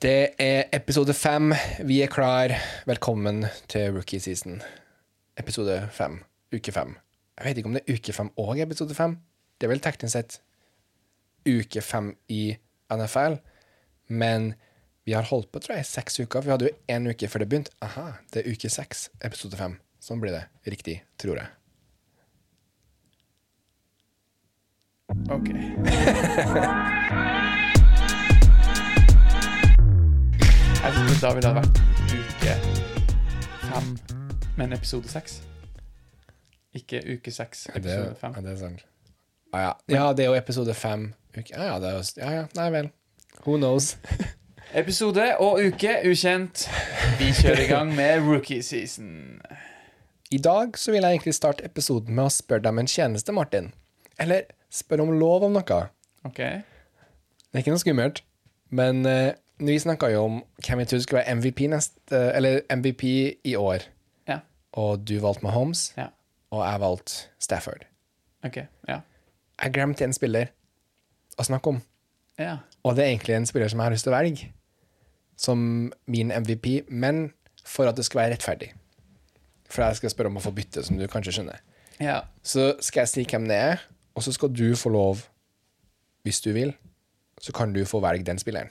Det er episode fem. Vi er klar. Velkommen til rookie season. Episode fem. Uke fem. Jeg vet ikke om det er uke fem og episode fem. Det er vel teknisk sett uke fem i NFL. Men vi har holdt på tror jeg, i seks uker. Vi hadde jo én uke før det begynte. Aha, det er uke seks, episode fem. Sånn blir det. Riktig, tror jeg. Ok. Jeg synes da ville det vært uke fem, men episode seks. Ikke uke seks, Det, episode fem. ja, det er sant. Ah, ja. ja, det er jo episode fem. Uke. Ja, ja, det er jo, ja, ja. Nei vel. Who knows? Episode og uke ukjent. Vi kjører i gang med rookie season. I dag så vil jeg egentlig starte episoden med å spørre deg om en tjeneste, Martin. Eller spørre om lov om noe. Ok. Det er ikke noe skummelt. Men eh, vi snakka jo om hvem vi trodde skulle være MVP, nest, eh, eller MVP i år. Ja. Og du valgte Mahomes, Ja. og jeg valgte Stafford. Ok. Ja. Jeg glemte en spiller å snakke om. Ja. Og det er egentlig en spiller som jeg har lyst til å velge som min MVP, men for at det skal være rettferdig. For jeg skal spørre om å få bytte, som du kanskje skjønner. Ja. Så skal jeg si hvem det er, og så skal du få lov, hvis du vil, så kan du få velge den spilleren.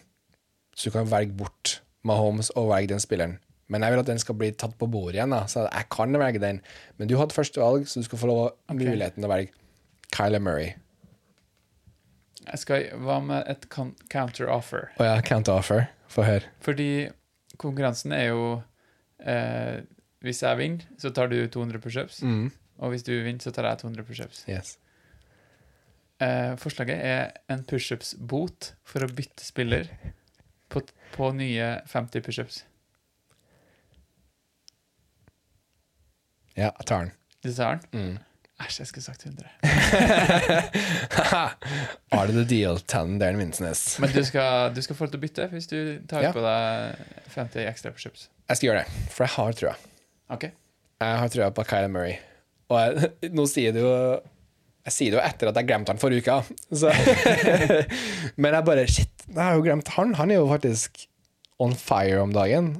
Så du kan velge bort Mahomes og velge den spilleren. Men jeg vil at den skal bli tatt på bordet igjen, da. så jeg kan velge den. Men du hadde første valg, så du skal få lov muligheten til å velge Kyler Murray. Jeg skal, hva med et con- counter-offer? Å ja, can't offer. Få høre. Fordi konkurransen er jo eh, Hvis jeg vinner, så tar du 200 pushups. Mm. Og hvis du vinner, så tar jeg 200 pushups. Yes. Eh, forslaget er en pushups-bot for å bytte spiller på, på nye 50 pushups. Ja, jeg tar den. Du sa den? Mm. Æsj, jeg skulle sagt 100. Are the deal, Tanderen Vinsnes? Men du skal, du skal få lov til å bytte hvis du tar Ja. på deg 50 ekstra pushups. Jeg skal gjøre det, for jeg har trua. OK? Jeg har trua på Kyler Murray. Og jeg, nå sier det jo Jeg sier det jo etter at jeg glemte han forrige uka. Så. Men jeg bare Shit, jeg har jo glemt han. Han er jo faktisk on fire om dagen.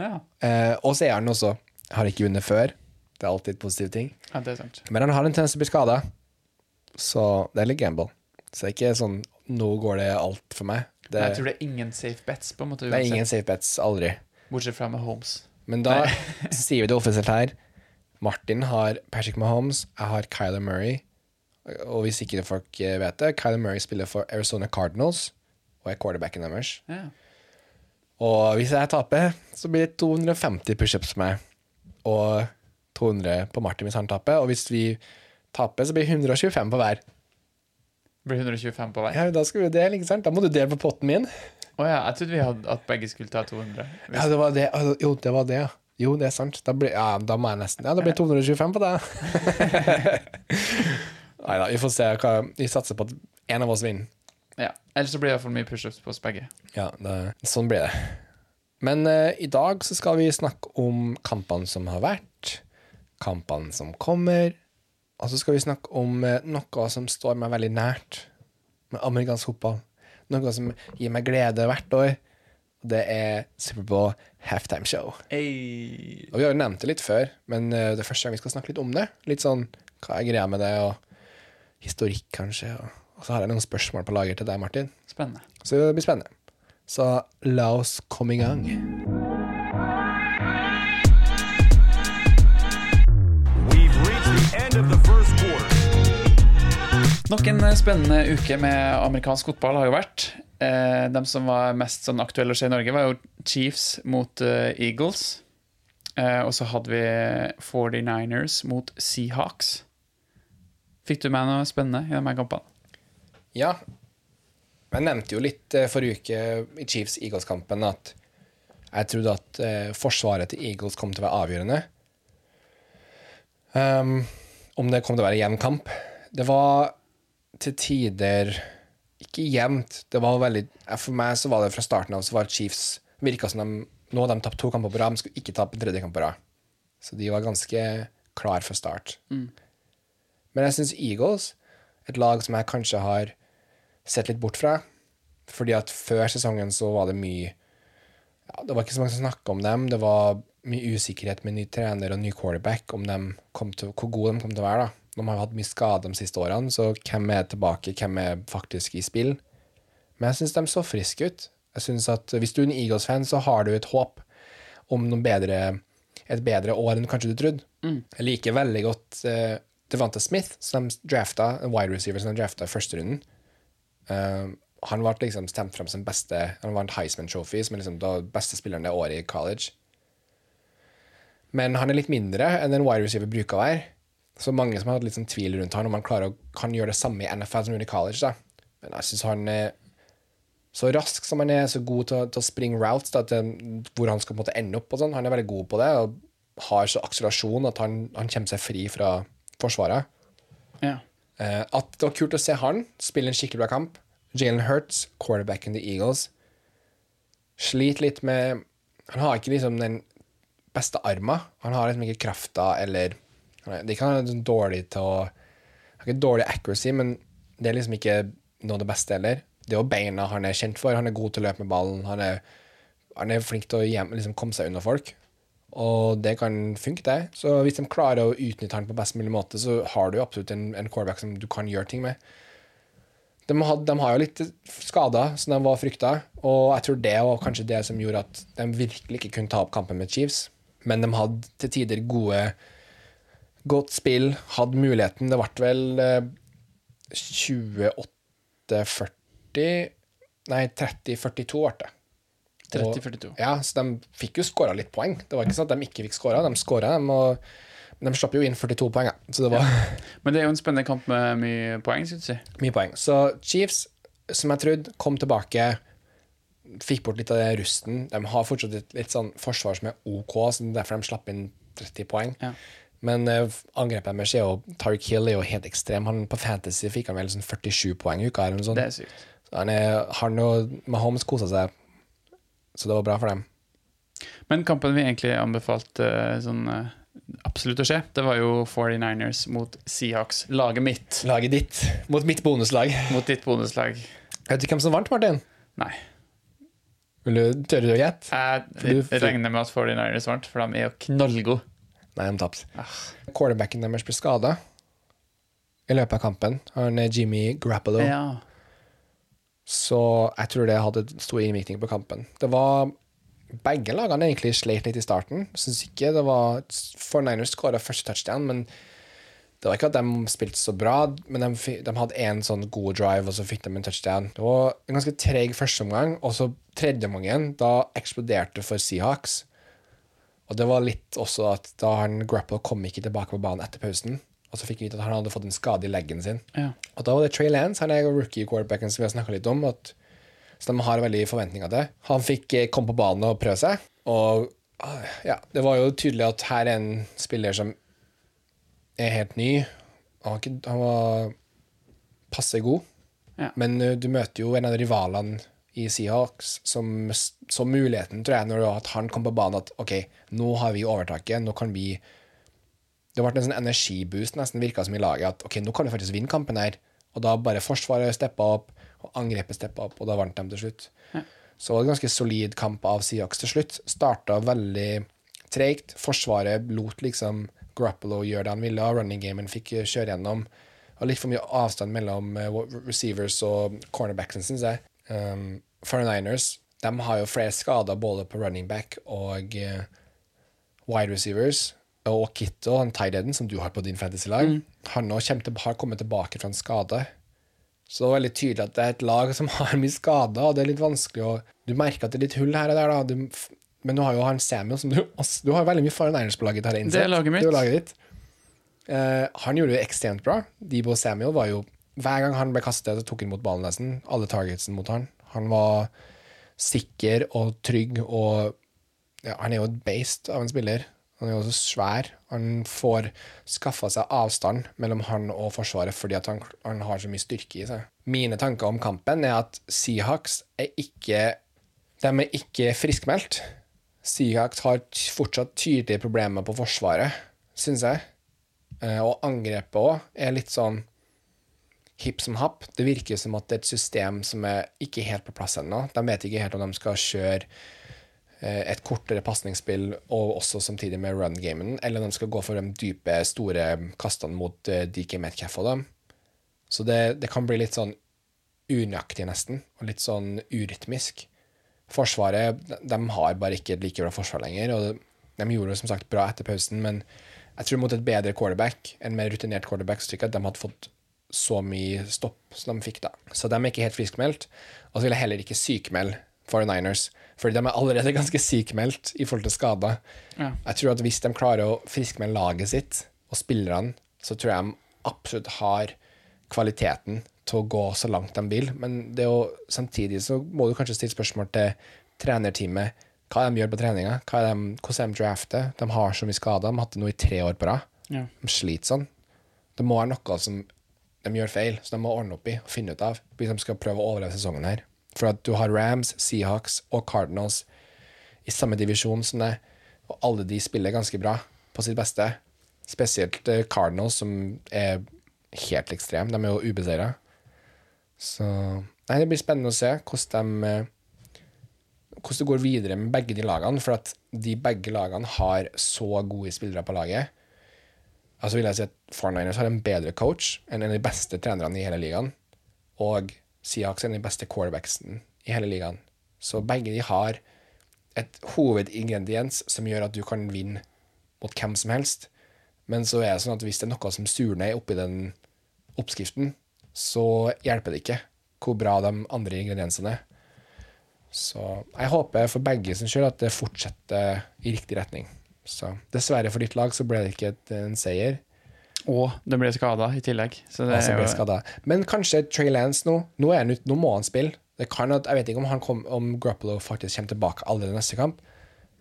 Ja. Eh, og så er han også Har ikke vunnet før. Det er alltid positive ting. ja, det er sant. Men han har en tendens til å bli skada, så det er litt gamble. Så det er ikke sånn Nå går det alt for meg. Det, Men jeg tror det er ingen safe bets, på en måte, det er uansett. ingen safe bets. Aldri. bortsett fra med Holmes. Men da sier vi det offisielt her. Martin har Patrick Mahomes, jeg har Kyler Murray. Og hvis ikke folk eh, vet det, Kyler Murray spiller for Arizona Cardinals og er quarterbacken deres. Ja. Og hvis jeg taper, så blir det 250 pushups på meg. Og 200 på Martin hvis han taper. Og hvis vi taper, så blir det 125 på hver. Blir 125 på vei. Ja, da skal vi dele, ikke sant? Da må du dele på potten min. Å ja, jeg trodde vi hadde at begge skulle ta 200. Ja, det var det. Å, Jo, det var det, ja. Jo, det er sant. Da blir, ja, da må jeg nesten Ja, det blir 225 på deg. Nei da, vi får se. Hva, vi satser på at en av oss vinner. Ja. Ellers så blir det iallfall mye pushups på oss begge. Ja, det, sånn blir det. Men eh, i dag så skal vi snakke om kampene som har vært, kampene som kommer, og så skal vi snakke om eh, noe som står meg veldig nært med amerikansk fotball. Noe som gir meg glede hvert år. Det er Superbowl halftime show. Og vi har jo nevnt det litt før, men eh, det er første gang vi skal snakke litt om det. Litt sånn hva er greia med det, og historikk kanskje. Og, og så har jeg noen spørsmål på lager til deg, Martin. Spennende. Så det blir spennende. Så la oss komme i gang. We've reached the end of the first quarter. Nok en eh, spennende uke med amerikansk fotball har jo vært. Eh, de som var mest sånn aktuelle å se i Norge, var jo Chiefs mot eh, Eagles. Eh, og så hadde vi 49ers mot Seahawks. Fikk du med noe spennende i de her kampene? Ja. Jeg nevnte jo litt eh, forrige uke i Chiefs Eagles-kampen at jeg trodde at eh, forsvaret til Eagles kom til å være avgjørende. Ehm, om det kom til å være jevn kamp. Det var til tider ikke jevnt. Det var veldig eh, For meg så var det fra starten av så var Chiefs virka som de Nå har de tapt to kamper på rad, men skulle ikke tape en tredje kamp på rad. Så de var ganske klar fra start. Men jeg syns Eagles, et lag som jeg kanskje har sett litt bort fra. Fordi at før sesongen så var det mye ja, det var ikke så mange som snakka om dem. Det var mye usikkerhet med ny trener og ny quarterback om dem kom til, hvor gode de kom til å være. da. De har jo hatt mye skade de siste årene, så hvem er tilbake, hvem er faktisk i spill? Men jeg syns de så friske ut. Jeg synes at Hvis du er en Eagles-fan, så har du et håp om noe bedre, et bedre år enn kanskje du trodde. Jeg liker veldig godt uh, Devante Smith, som de drafta, en wide receiver som de drafta i første runden. Eh, han ble liksom stemt fram som beste Han vant Heisman Trophy, som er liksom da beste spilleren det året i college. Men han er litt mindre enn en wide receiver bruker å være. Så mange som har hatt litt sånn tvil rundt han om han klarer å, kan gjøre det samme i NFL som han gjorde i college. da. Men jeg syns han er så rask som han er, så god til, å- til å springe routes, da, til hvor han skal på en måte ende opp. og sånn. Han er veldig god på det og har så akselerasjon at han, han kommer seg fri fra forsvaret. Ja. Eh, at det var kult å se han spille en skikkelig bra kamp. Jalen Hurts, quarterbacken til Eagles, sliter litt med Han har ikke liksom den beste arma. Han har liksom ikke krafta eller han er- Det er ikke han er sånn dårlig til å Han har ikke dårlig accuracy, men det er liksom ikke noe av det beste heller. Det er jo beina han er kjent for. Han er god til å løpe med ballen. Han er, han er flink til å hjem, liksom komme seg unna folk. Og det kan funke, det. Så hvis de klarer å utnytte han på best mulig måte, så har du jo absolutt en, en quarterback som du kan gjøre ting med. De, had, de har jo litt skader, som de var frykta, og jeg tror det var kanskje det som gjorde at de virkelig ikke kunne ta opp kampen med Chiefs. Men de hadde til tider gode godt spill, hadde muligheten. Det ble vel eh, 28-40 Nei, 30-42 ble det. 30-42. Og- Ja, så de fikk jo skåra litt poeng. Det var ikke sånn at de ikke fikk skåra, de skåra, dem, og men de slapp jo inn 42 poeng, ja. så det var Men det er jo en spennende kamp med mye poeng, skulle du si. mye poeng. Så Chiefs, som jeg trodde, kom tilbake, fikk bort litt av det rusten. De har fortsatt et litt sånn forsvar som er OK, så det er derfor de slapp inn 30 poeng. Ja. Men eh, angrepet deres er jo Tariq Hill er jo helt ekstrem. Han, på Fantasy fikk han vel sånn 47 poeng i uka. Eller noe sånt. Det er sykt. Så han er, han og Mahomes kosa seg, så det var bra for dem. Men kampen vi egentlig anbefalte eh, sånn eh, absolutt å se, det var jo 49ers mot Seahawks, laget mitt, Laget ditt mot mitt bonuslag. mot ditt bonuslag. Vet du hvem som vant, Martin? Nei. Vil du tørre å gjette? Jeg du- for- regner med at 49ers vant, for de er jo knallgode. Nei, de tapte. Quarterbacken deres ble skada i løpet av kampen. Han er Jimmy Grappolo. Ja. Så jeg tror det hadde stor innvirkning på kampen. Det var Begge lagene egentlig sleit litt i starten. Syns ikke det var For Niners skåra første touchdown, men det var ikke at de spilte så bra. Men de, fi- de hadde én sånn god drive, og så fikk de en touchdown. Det var en ganske treg førsteomgang, og så tredjeomgangen, da eksploderte for Seahawks. Og det var litt også at da han Grapple kom ikke tilbake på banen etter pausen, og så fikk vi vite at han hadde fått en skade i leggen sin. ja. Og da var det Trey Lance, han er jo rookie quarterbacken som vi har snakka litt om, at, så de har veldig forventninger til. Han fikk eh, komme på banen og prøve seg, og ah, ja, det var jo tydelig at her er en spiller som er helt ny. Han var, ikke, han var passe god, Ja. men eh, du møter jo en av rivalene i Seahawks som s- så muligheten, tror jeg, når det var at han kom på banen, at OK, nå har vi overtaket, nå kan vi det ble en sånn energiboost nesten virka som i laget at ok, nå kan du faktisk vinne kampen her. Og da bare forsvaret steppa opp, og angrepet steppa opp, og da vant de til slutt. Så det var en ganske solid kamp av Seahawks til slutt. Starta veldig treigt. Forsvaret lot liksom Grappolo gjøre det han ville, og running gamen fikk eh, kjøre gjennom. Og litt for mye avstand mellom eh, wa- receivers og cornerbacksen, syns jeg. Um, 49ers de har jo flere skader både på running back og eh, wide receivers og Kitto, han tight-enden som du har på din fantasy-lag, Mm. han nå kommer til, har kommet tilbake fra en skade. Så det var veldig tydelig at det er et lag som har mye skader, og det er litt vanskelig å Du merker at det er litt hull her og der, da. Du, men nå har jo han Samuel som du også, Du har jo veldig mye foran Einers på laget, har jeg innsett. Det er laget mitt. Det er jo laget ditt. Eh, han gjorde det ekstremt bra. Debo Samuel var jo Hver gang han ble kastet, så tok han mot ballen nesten. Alle targetsen mot han. Han var sikker og trygg og ja, Han er jo et beist av en spiller. Han er jo også svær. Han får skaffa seg avstand mellom han og Forsvaret fordi at han, han har så mye styrke i seg. Mine tanker om kampen er at Seahawks er ikke De er ikke friskmeldt. Seahawks har t- fortsatt tydelige problemer på Forsvaret, syns jeg. Eh, Og angrepet òg er litt sånn hipp som happ. Det virker som at det er et system som er ikke helt på plass ennå. De vet ikke helt om de skal kjøre eh, et kortere pasningsspill, og også samtidig med run-gamen, eller om de skal gå for de dype, store kastene mot eh, DK Metcalf og dem. Så det, det kan bli litt sånn unøyaktig, nesten, og litt sånn urytmisk. Forsvaret de, de har bare ikke et like bra forsvar lenger, og de gjorde det som sagt bra etter pausen, men jeg tror mot et bedre quarterback, en mer rutinert quarterback, så tror jeg ikke at de hadde fått så mye stopp som de fikk da. Så de er ikke helt friskmeldt. Og så vil jeg heller ikke sykmelde 49ers, fordi de er allerede ganske sykmeldt i forhold til skader. Ja. Jeg tror at hvis de klarer å friskmelde laget sitt og spillerne, så tror jeg de absolutt har kvaliteten til å gå så langt de vil. Men det er jo, samtidig så må du kanskje stille spørsmål til trenerteamet. Hva de gjør på treninga, hva de, hvordan de drafter. De har så mye skader. De har hatt det nå i tre år på rad. Ja. De sliter sånn. Det må være noe som de gjør feil, så de må ordne opp i og finne ut av hvis de skal prøve å overleve sesongen her. For at du har Rams, Seahawks og Cardinals i samme divisjon som deg, og alle de spiller ganske bra på sitt beste. Spesielt eh, Cardinals, som er helt ekstrem. De er jo ubeseira. Så Nei, det blir spennende å se hvordan de eh, hvordan det går videre med begge de lagene, for at de begge lagene har så gode spillere på laget. Altså vil jeg si at 49ers har en bedre coach enn en av de beste trenerne i hele ligaen. Og Seahawks er en av de beste quarterbacksen i hele ligaen. Så begge de har et hovedingrediens som gjør at du kan vinne mot hvem som helst. Men så er det sånn at hvis det er noe som surner oppi den oppskriften, så hjelper det ikke hvor bra de andre ingrediensene er. Så jeg håper for begge sin skyld at det fortsetter i riktig retning. Så dessverre for ditt lag så ble det ikke et, en seier. Og det ble skada i tillegg. Så det og så er ble jo, skadet. Men kanskje Trey Lance nå Nå, er han ut, nå må han spille. Det kan at, jeg vet ikke om, han kom, om Garoppolo faktisk kommer tilbake allerede neste kamp.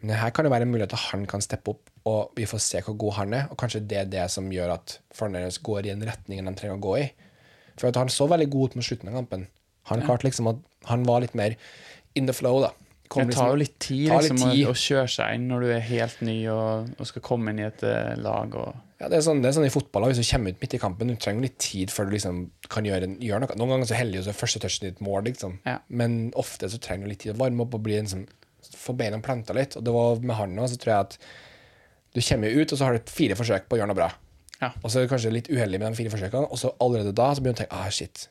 Men her kan det være en mulighet at han kan steppe opp, og vi får se hvor god han er. Og kanskje det er det som gjør at Fornøynes går i den retningen de trenger å gå i. For at han så veldig god ut mot slutten av kampen. Han klarte liksom at han var litt mer in the flow, da. Kom det liksom- tar jo litt tid, tar litt liksom, tid. Å, å kjøre seg inn når du er helt ny og, og skal komme inn i et eh, lag. Og, Ja, det er, sånn, det er sånn i fotball, og hvis du kommer ut midt i kampen, du trenger litt tid før du liksom kan gjøre, en- gjøre noe. Noen ganger så heldig, og så er første touchen ditt mål, liksom. Ja. Men ofte så trenger du litt tid å varme opp og bli liksom, få beina planta litt. Og det var med han nå, så tror jeg at du kommer ut, og så har du fire forsøk på å gjøre noe bra. Ja. Og så er du kanskje litt uheldig med de fire forsøkene, og så allerede da så begynner du å tenke ah, shit,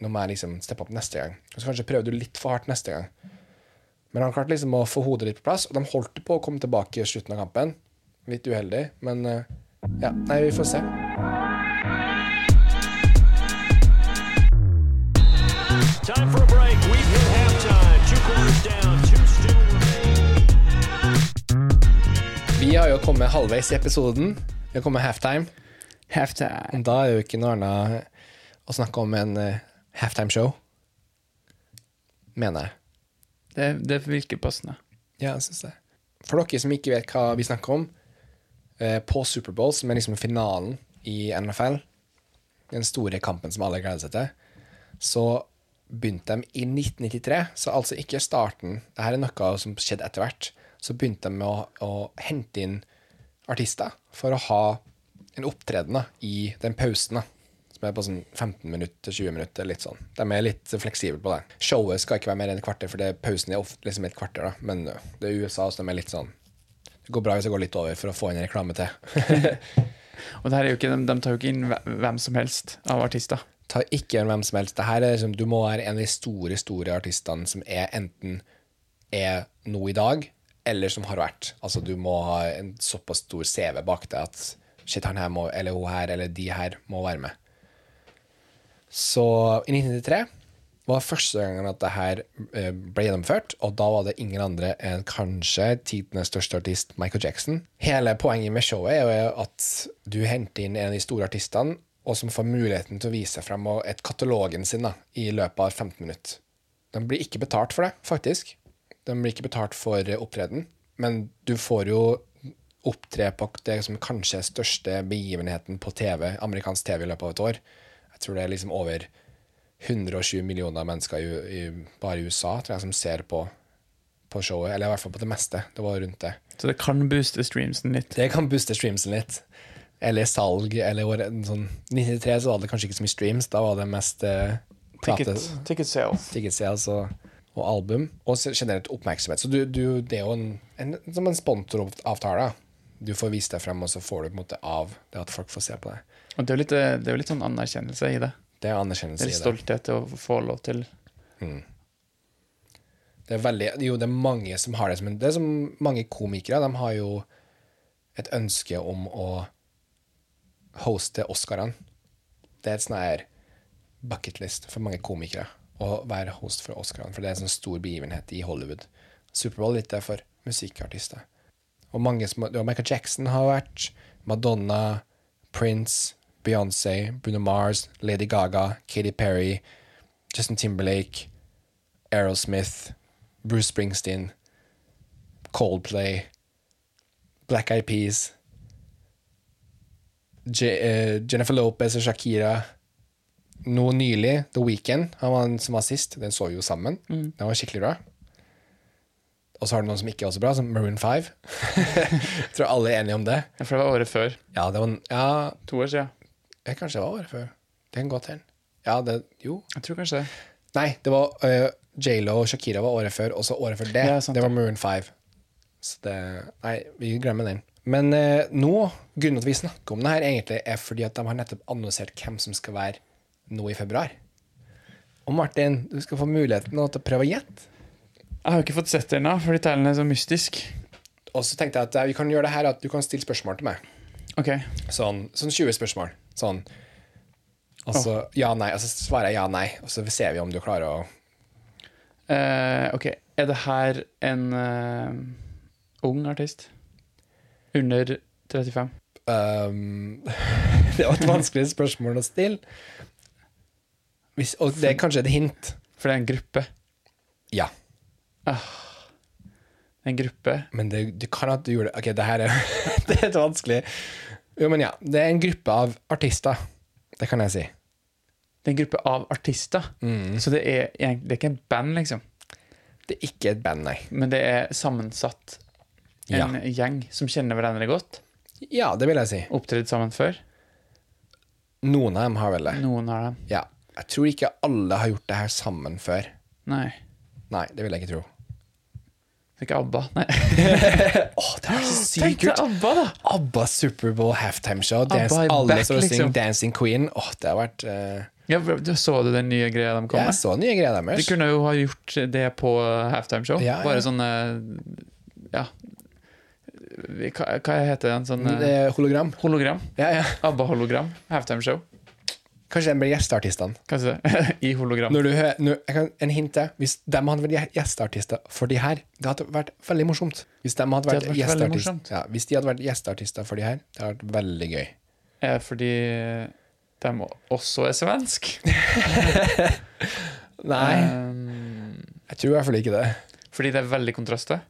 nå må jeg liksom steppe opp neste gang. Og så kanskje prøver du litt for hardt neste gang. Men han klarte liksom å få hodet litt på plass, og de holdt på å komme tilbake i slutten av kampen. Litt uheldig, men eh, ja, nei, vi får se. Time for a break. We've hit halftime. Two quarters down. Two still remaining. Vi har jo kommet halvveis i episoden. Vi har kommet halftime. Halftime. Da er jo ikke noe annet å snakke om enn eh, halftime-show. Mener jeg. Det, det virker passende. Ja, jeg synes det. For dere som ikke vet hva vi snakker om, eh, på Superbowl, som er liksom finalen i NFL, den store kampen som alle gleder seg til, så begynte de i 1993, så altså ikke starten, det her er noe som skjedde etter hvert, så begynte de med å, å hente inn artister for å ha en opptreden da, i den pausen da, som er på sånn 15 minutter til 20 minutter, litt sånn. De er litt fleksible på det. Showet skal ikke være mer enn et kvarter, for det, pausen er ofte liksom et kvarter da, men ø, det er USA, så de er litt sånn, det går bra hvis det går litt over for å få inn en reklame til. Og det her er jo ikke, de, de tar jo ikke inn hve- hvem som helst av artister. Ta ikke en hvem som helst. Det her er liksom, du må være en av de store store artistene som er enten er nå i dag, eller som har vært. Altså Du må ha en såpass stor CV bak deg at shit, han her må, eller hun her, eller de her må være med. Så i 1993 var første gangen at det her eh, ble gjennomført, og da var det ingen andre enn kanskje tidenes største artist, Michael Jackson. Hele poenget med showet er jo at du henter inn en av de store artistene, og som får muligheten til å vise frem og- et katalogen sin da, i løpet av 15 minutter. De blir ikke betalt for det, faktisk. De blir ikke betalt for eh, opptreden, men du får jo opptre på det som kanskje er største begivenheten på TV, amerikansk TV i løpet av et år. Jeg tror det er liksom over 120 millioner mennesker i, i, bare i USA tror jeg, som ser på, på showet, eller i hvert fall på det meste. Det var rundt det. Så det kan booste streamsen litt. Det kan booste streamsen litt. Eller salg, eller hvor- en sånn 93 så var det kanskje ikke så mye streams, da var det mest eh, plate- ticket sales. ticket sales og altså, og album, og se- generelt oppmerksomhet. Så du, du, det er jo en, en, som en sponsoravtale. Du får vist deg frem, og så får du på en måte av det at folk får se på deg. Og det er jo litt, eh, det er jo litt sånn anerkjennelse i det. Det er Det anerkjennelse er i litt det. stolthet til å få lov til Det er, veldig, jo, det er mange som har det som en Det er som mange komikere. De har jo et ønske om å hoste Oscarene. Det er et sånn her bucketlist for mange komikere å være host for Oscarene. For det er en sånn stor begivenhet i Hollywood. Superbowl litt er for musikkartister. Og mange som ja, Michael Jackson har vært. Madonna, Prince, Beyoncé, Bruno Mars, Lady Gaga, Katy Perry, Justin Timberlake, Aerosmith, Bruce Springsteen, Coldplay, Black Eyed Peas, Je- eh, Jennifer Lopez og Shakira. Nå nylig, The Weeknd, han var den som var sist. Den så vi jo sammen. Den var skikkelig bra. Og så har du noen som ikke er så bra, som Maroon 5. Jeg tror alle er enige om det. For det var året før. Ja, det var en, ja To år siden. jeg kanskje det var året før. Det kan godt hende. Ja, det Jo. Jeg tror kanskje det. Nei, det var uh, J.Lo og Shakira var året før, og så året før det. Ja, sant det var Maroon 5. Så det Nei, vi glemmer den. Men eh, nå, grunnen til at vi snakker om det her, egentlig, er fordi at de har nettopp annonsert hvem som skal være nå i februar. Og Martin, du skal få muligheten nå til å prøve å gjette. Jeg har jo ikke fått sett det ennå, fordi tallene er så mystiske. Og så tenkte jeg at eh, vi kan gjøre det her at du kan stille spørsmål til meg. Ok, Sånn, sånn 20 spørsmål. Sånn. Og så ja, nei. Og så svarer jeg ja, nei. Og så ser vi om du klarer å Eh, ok. Er det her en eh, ung artist? Under 35? Ehm, det var et vanskelig spørsmål å stille. Hvis, og det er kanskje et hint. For det er en gruppe. Ja, Det er En gruppe. men det, du kan at du gjorde det Ok, det her er, det er et vanskelig Jo, men ja. Det er en gruppe av artister. Det kan jeg si. Det er en gruppe av artister. Så det er, egent- det er ikke en band, liksom. Det er ikke et band, nei. Men det er sammensatt. Ja. En gjeng som kjenner hverandre godt. Ja, det vil jeg si. Opptredd sammen før. Noen av dem har vel det. Noen har dem. Ja. Jeg tror ikke alle har gjort det her sammen før. Nei. Nei, det vil jeg ikke tro. Det er ikke ABBA. Nei. Åh, det er så sykt Tenk deg kult! ABBA, da! ABBA Superbowl halftime show. Dance, ABBA er alle back, står og synger liksom. 'Dancing Queen'. Åh, det har vært eh, Ja, du Så du den nye greia de kom Jeg med? så nye greier De deres. kunne jo ha gjort det på halftime show. Ja, ja. Bare sånn eh, Ja. Hva, hva heter den? Sånn eh, Det er hologram. hologram? Ja, ja. ABBA-hologram. Halftime show. Kanskje de blir gjesteartistene. Hva heter det? I hologram. Når du hø- når, jeg kan, en hint til. Hvis de hadde vært gje- gjesteartister for de her, det hadde vært veldig morsomt. Hvis de hadde vært, hadde vært veldig gjesteartist- morsomt. ja, hvis de hadde vært gjesteartister for de her, det hadde vært veldig gøy. Eh, fordi de også er svensk. Nei, Eh, jeg tror i hvert fall ikke det. fordi det er veldig kontrast. det.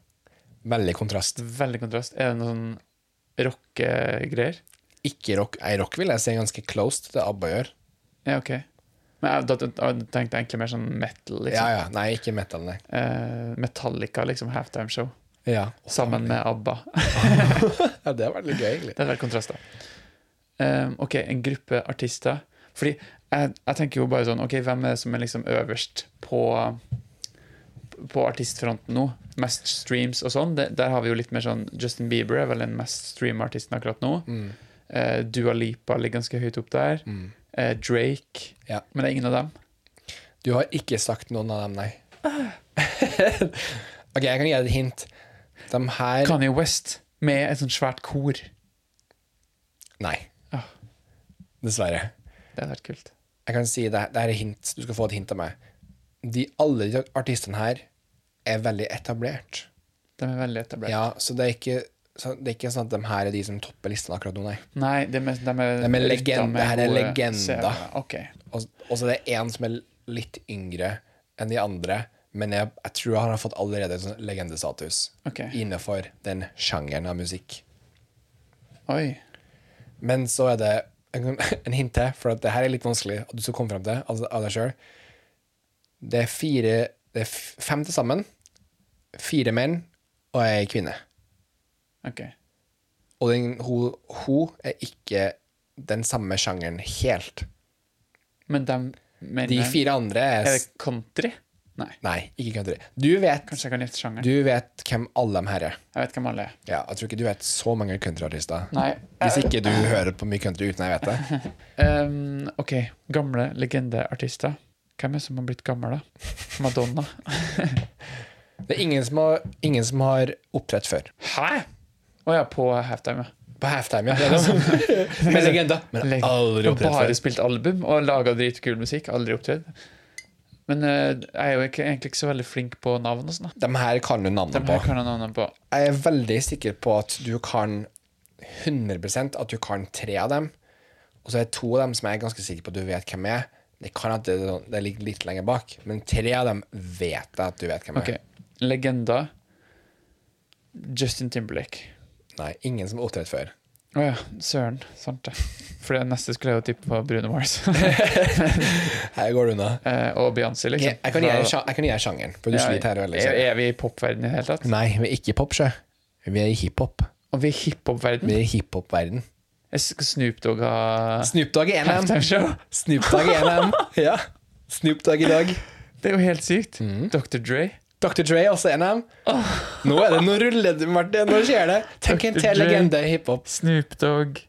Veldig kontrast. Veldig kontrast. Er det noe sånn rockegreier? Ikke rock. Nei, rock vil jeg si er ganske close til det ABBA gjør. Ja, OK. Men jeg, da, da tenkte jeg egentlig mer sånn metal, Ja, liksom. ja. Nei, ikke metal, nei. Eh, Metallica, liksom. Halftime show. Ja. Sammen med ABBA. ja, det hadde vært litt gøy, egentlig. Det er vel kontraster. Ehm, ok, en gruppe artister. Fordi jeg, jeg tenker jo bare sånn Ok, hvem er det som er liksom øverst på På artistfronten nå? Mest streams og sånn. Det, der har vi jo litt mer sånn Justin Bieber er vel den mest streama artisten akkurat nå. Mm, Eh, Dua Lipa ligger ganske høyt opp der. Eh, Drake. Ja. Men det er ingen av dem. Du har ikke sagt noen av dem, nei. ok, jeg kan gi deg et hint. De her Kanye West med et sånt svært kor. Det Nei. Ah. Dessverre. hadde vært kult. Jeg kan si det, det her er hint. Du skal få et hint av meg. De, alle de artistene her er veldig etablert. De er veldig etablert. Ja, så det er ikke så det er ikke sånn at de her er de som topper listen akkurat nå, nei. Nei, de er, de er, De er legend- gutter med det her er gode legender. seere. Ok. Og og så er det én som er litt yngre enn de andre, men jeg, jeg tror han har fått allerede sånn legendestatus Ok. innenfor den sjangeren av musikk. Oi. Men så er det en, en hint til, for at det her er litt vanskelig at du skal komme frem til altså, av, av deg sjøl. Det er fire Det er f- fem til sammen. Fire menn og ei kvinne. Ok. Og den, hun, hun er ikke den samme sjangeren helt. Men de mener De fire andre er, Er s- det country? Nei. Nei, ikke country. Du vet, Kanskje jeg kan gjette sjangeren. du vet hvem alle dem her er. Jeg vet hvem alle er. Ja, jeg tror ikke du vet så mange countryartister. Nei. eh, Hvis ikke du hører på mye country uten jeg vet det. Ehm, ok, gamle legendeartister. Hvem er det som har blitt gammel, da? Madonna. Det er ingen som har, ingen som har opptrådt før. Hæ?! Å ja, på halftime. ja. På halftime, ja. Det er det. Med legender. Men Leg- aldri og opptrådt bare før. spilt album og laga dritkul musikk. Aldri opptredd. Men eh, jeg er jo ikke, egentlig ikke så veldig flink på navn og sånn. da. De her kan du Dem navnet på. her kan jeg navnet på. Jeg er veldig sikker på at du kan 100 at du kan tre av dem. Og så er det to av dem som jeg er ganske sikker på at du vet hvem er. Det kan at det, det ligger litt lenger bak, men tre av dem vet jeg at du vet hvem Ok, er. Legenda Justin Timberlake. Nei, ingen som har opptrådt før. Å ja, søren. Sant det. For det neste skulle jeg jo tippe på Bruno Mars. Her går det unna. Eh, og Beyoncé, liksom. Jeg, jeg kan gi deg sja- jeg kan gi deg sjangeren, for du Ja, sliter her veldig. er, selv. er vi i popverdenen i det hele tatt? Nei, vi er ikke i pop, sjø. Vi er i hiphop. Og vi er i Vi hiphop-verdenen? er i hiphop-verden. Jeg skal Snoop Dogg ha Snoop Dogg er en av dem. halftimeshow? Snoop Dogg er en av dem. Ja. Snoop Dogg i dag. Det er jo helt sykt. Mm. Dr. Dre. Dr. Dre er også en av dem. Nå er det noe ruller det, Martin. Nå skjer det. Tenk en Dr. til Dre. legende i hiphop. Snoop Dogg.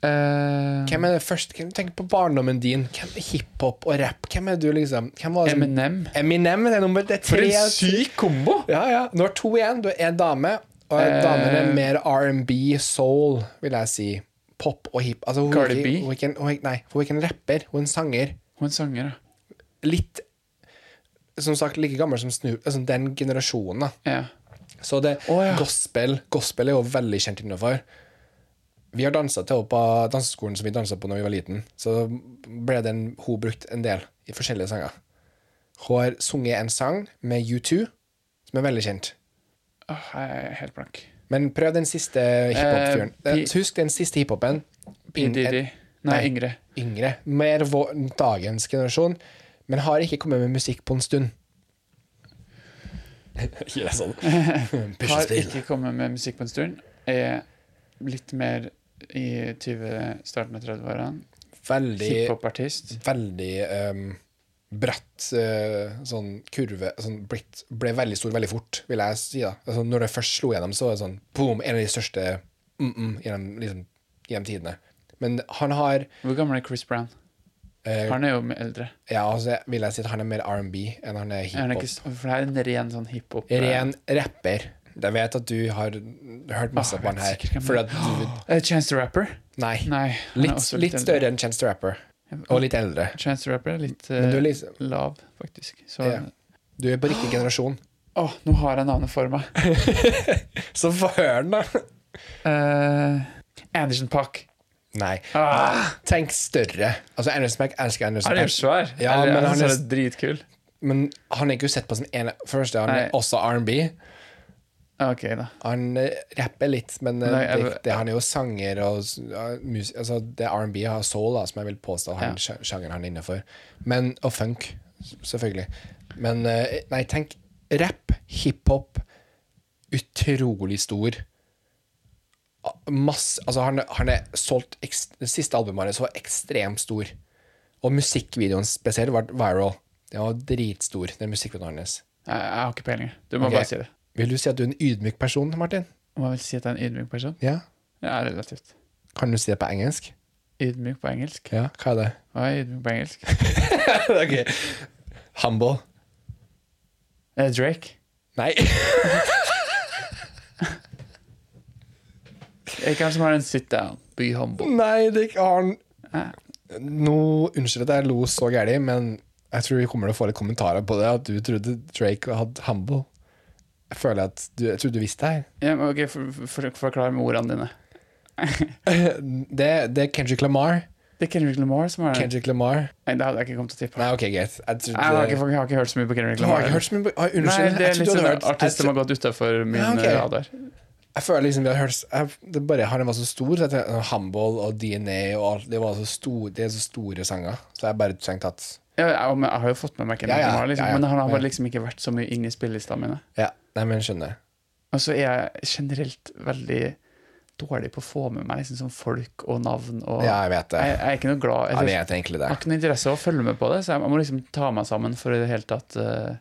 Eh, Hvem er det først? Hvem- Tenk på barndommen din. Hvem er hiphop og rap? Hvem er du, liksom? Hvem var det som- Eminem. Eminem det er nummer det er For tre. altså. en syk kombo! Ja, ja. Nå er to igjen. Du er en dame. Og Eh. damen er mer R&B, soul, vil jeg si. Pop og hip. Altså, hun, er Cardi ikke- B? Hun, er ikke en- hun, er ikke- nei, hun er ikke en rapper. Hun er en sanger. Og en sanger, da. Litt Som sagt, like gammel som Snoop. Altså, den generasjonen, da. Ja. Så det Å, ja. gospel Gospel er jo veldig kjent innenfor. Vi har dansa til henne på danseskolen som vi dansa på da vi var liten. Så ble den hun brukt en del i forskjellige sanger. Hun har sunget en sang med U2, som er veldig kjent. Åh, jeg er helt blank. Men prøv den siste hiphop-fyren. Eh, P- Eh, Husk den siste hiphopen. P. Ing- Diddy. en Nei. Nei, Ingrid. Yngre. Mer vår, dagens generasjon. Men har ikke kommet med musikk på en stund. Ikke det sånn. Har ikke kommet med musikk på en stund. Er litt mer i 20, starten av 30-årene. Veldig, Hiphop-artist. veldig ehm, bratt eh, sånn kurve sånn blitt, Ble veldig stor veldig fort, vil jeg si. da. Altså, når det først slo gjennom, så var det sånn boom, en av de største mm-mm gjennom, liksom, gjennom tidene. Men han har Hvor gammel er Chris Brown? eh, Han er jo med eldre. Ja, altså vil jeg si at han er mer R&B enn han er Er han ikke, hiphop. s- for det er en ren sånn hiphop Ren rapper. Jeg vet at du har hørt masse Åh, på han Ah, jeg vet sikkert her. hvem Fordi det at du, Eh, Chance the Rapper? nei. Nei. han er Litt, også litt eldre. større enn Chance the Rapper. Og litt eldre. Chance the Rapper er litt eh, Men du er, liksom, lav, faktisk. Så ja. du er på riktig generasjon. Åh, nå har jeg navnet for meg. Så få høre den, da! Eh, Anderson Park. Nei. Ah, Tenk større. Altså, Anderson Paak elsker Anderson han er jo Paak, svær. Ja, Eller, altså, men jeg han synes er- han er dritkul. men han er ikke sett på som ene Først er han Nei. også R&B. Ok, da. Han eh, rapper litt, men eh, Nei, jeg- det, det, han er jo sanger og s- ja, mus, altså, Det er R&B og soul, da, som jeg vil påstå han, Ja. sj- sjangeren han er innenfor. Men, og funk, s- selvfølgelig. Men eh, nei, tenk rap, hiphop, utrolig stor. A- Masse Altså, han, han er solgt eks, Det siste albumet hans var ekstremt stor. Og musikkvideoen spesielt ble viral. Den var dritstor, den musikkvideoen hans. Jeg, jeg har ikke peiling. Du må Ok. bare si det. Vil du si at du er en ydmyk person, Martin? Må jeg vel si at jeg er en ydmyk person? Ja? Ja, relativt. Kan du si det på engelsk? Ydmyk på engelsk? Ja, hva er det? Hva er ydmyk på engelsk? Humble. Er det Eh, Drake? Nei. Er ikke han som har en sit down, be humble? Nei, det er ikke han Hæ? Nå, Unnskyld at jeg lo så gærlig, men jeg tror vi kommer til å få litt kommentarer på det. At du trodde Drake hadde humble. Jeg føler at du, jeg tror du visste det her. Ja, men ok, for, for, for, Forklar med ordene dine. Det, det er Kendrick Lamar. Det er Kendrick Lamar som har den. Kendrick Lamar. Nei, det hadde jeg ikke kommet til å tippe. Nei, ok, greit. Jeg trodde Nei, jeg, har ikke, jeg har ikke hørt så mye på Kendrick Du har Lamar. ikke hørt så mye på- Oi, Nei, Unnskyld. det Jeg er litt trodde du sånn hadde hørt jeg, artist som tro- har gått utafor min Ja, ok. eh, radar. jeg føler liksom vi har hørt jeg, det er bare, Han var så stor. Så jeg tenkte, Humble og DNA og alt. Det, var så stor, det er så store sanger. Så jeg bare tenkte at Ja, jeg, men jeg har jo fått med meg Ja, Kendrick ja, Lamar, liksom, ja, ja. men han har bare Ja. liksom ikke vært så mye inne i spillelistene mine. Ja, nei, men skjønner. Og så er jeg generelt veldig dårlig på å få med meg liksom, sånn folk og navn og Ja, jeg vet det. Jeg, jeg er ikke noe glad Jeg jeg, vet egentlig det. har ikke noe interesse av å følge med på det, så jeg, jeg må liksom ta meg sammen for i det hele tatt eh,